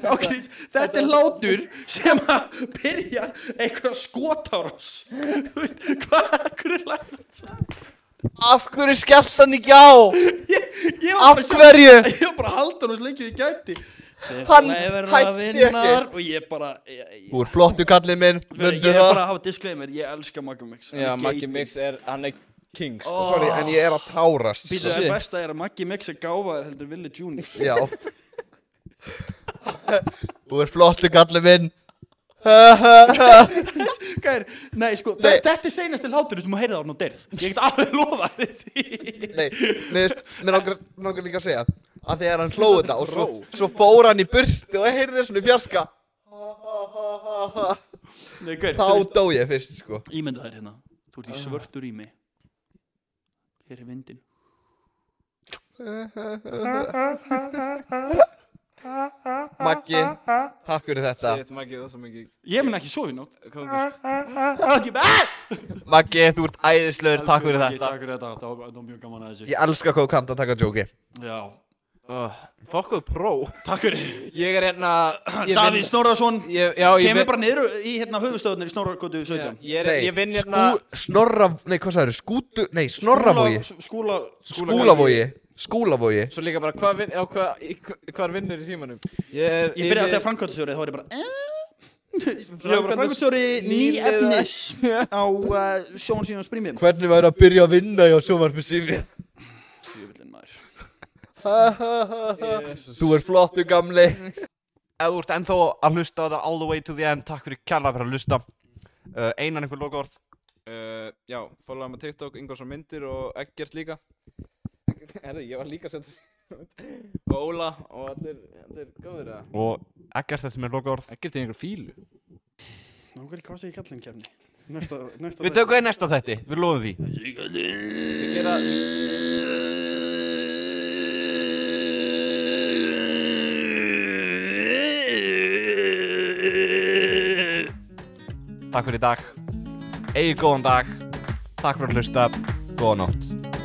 S2: það okay, þetta er látur sem að byrjar einhverja skotárás Þú veist, hvað, hvernig læður
S1: Af hverju skellt hann ekki á?
S2: ég, ég var
S1: Af
S2: bara að sjá-
S1: hverju?
S2: ég var bara að halda hann og slengja ég gæti
S1: Hann
S2: verður að
S1: hætti ekki.
S2: vinnar og ég bara ég, ég,
S1: Þú er flottu kallið minn,
S2: ég
S1: mundu
S2: er
S1: það
S2: bara að hafa disclaimer, ég elska Maggi Mix hann
S3: Já,
S2: er
S3: Maggi
S2: geitin.
S3: Mix er, hann er king sko.
S2: Ó,
S1: Sorry, En ég er að tárast
S2: býtu það
S3: Shit.
S2: besta er að Maggi Mix er gáfaður heldur Willi Junior
S1: Já Þú er flottu kallið minn Þetta
S2: Hvað er, nei sko,
S1: Nei.
S2: þe- þetta er seinasti hlátur sem að heyra það án og deyrð Ég get alveg lofa þér því
S1: Nei, miðst, mér langar, mig langar líka að segja að þegar hann hlóði þetta og svo, svo fór hann í burtu og heyrði svona í fjarska
S2: Nei, hver,
S1: þá
S2: þú veist,
S1: dó ég fyrst sko
S2: ímynda þér hérna Þú ert í svörtu rými Hér er vindin
S1: Maggi, takk fyrir þetta
S3: Shit, Maggi, það er svo mikið
S2: Ég mun ekki sofa í nótt
S3: kókur
S2: Ekki með
S1: Maggi, þú ert æðislur, takk fyrir þetta
S2: Takk fyrir þetta, það var, það var mjög gaman að þessu
S1: Ég elska hvað þú kannt að taka djóki
S2: Já,
S3: oh, Fokkuð pró
S2: takk fyrir
S3: Ég er hérna ég
S2: Davíð
S3: vinn-
S2: Snorrason
S3: Ég- já, ég
S2: Kemur
S3: vinn-
S2: bara niður í hérna höfustöðunir í Snorrakotu 17
S3: Ég, er, ég vinn hérna
S1: skú, snorra, nei hvað sagður, skútu, nei, snorravogi
S2: Skúla, skúla,
S1: Skúlavogi, skúlavogi
S3: Svo líka bara, hvað vinn, já, hvað, í- hvar vinnur í símanum? Ég er
S2: Ég byrjaði að segja framkvæmtastjóri, þá var ég bara eh? Ég var bara framkvæmtastjóri ný
S3: Nýliða-
S2: efnis á uh, sjónsvíðan sprími
S1: Hvernig væri að byrja að vinna hjá sjómarfi sími?
S2: Jöfullinn maður
S1: Þú er flottu gamli Ef þú ert ennþá að hlusta á það all the way to the end Takk fyrir kjalla fyrir að hlusta uh, Einan einhver lokaorð
S3: Uh, já, fólkaði með TikTok, Ingvarsson myndir og Eggert líka Herðu, ég var líka sett Og Óla og allir, allir góður að
S1: Og ekkert þetta sem er lokaorð
S3: Eggert er einhver fílu
S2: Ná, hvernig hvað segir kallinn kefni? Næsta, næsta
S1: Við tökum við næsta þetti, við lofum því
S3: Gera,
S1: Takk fyrir í dag Egið góðan dag Takk fyrir að hlusta Góða nótt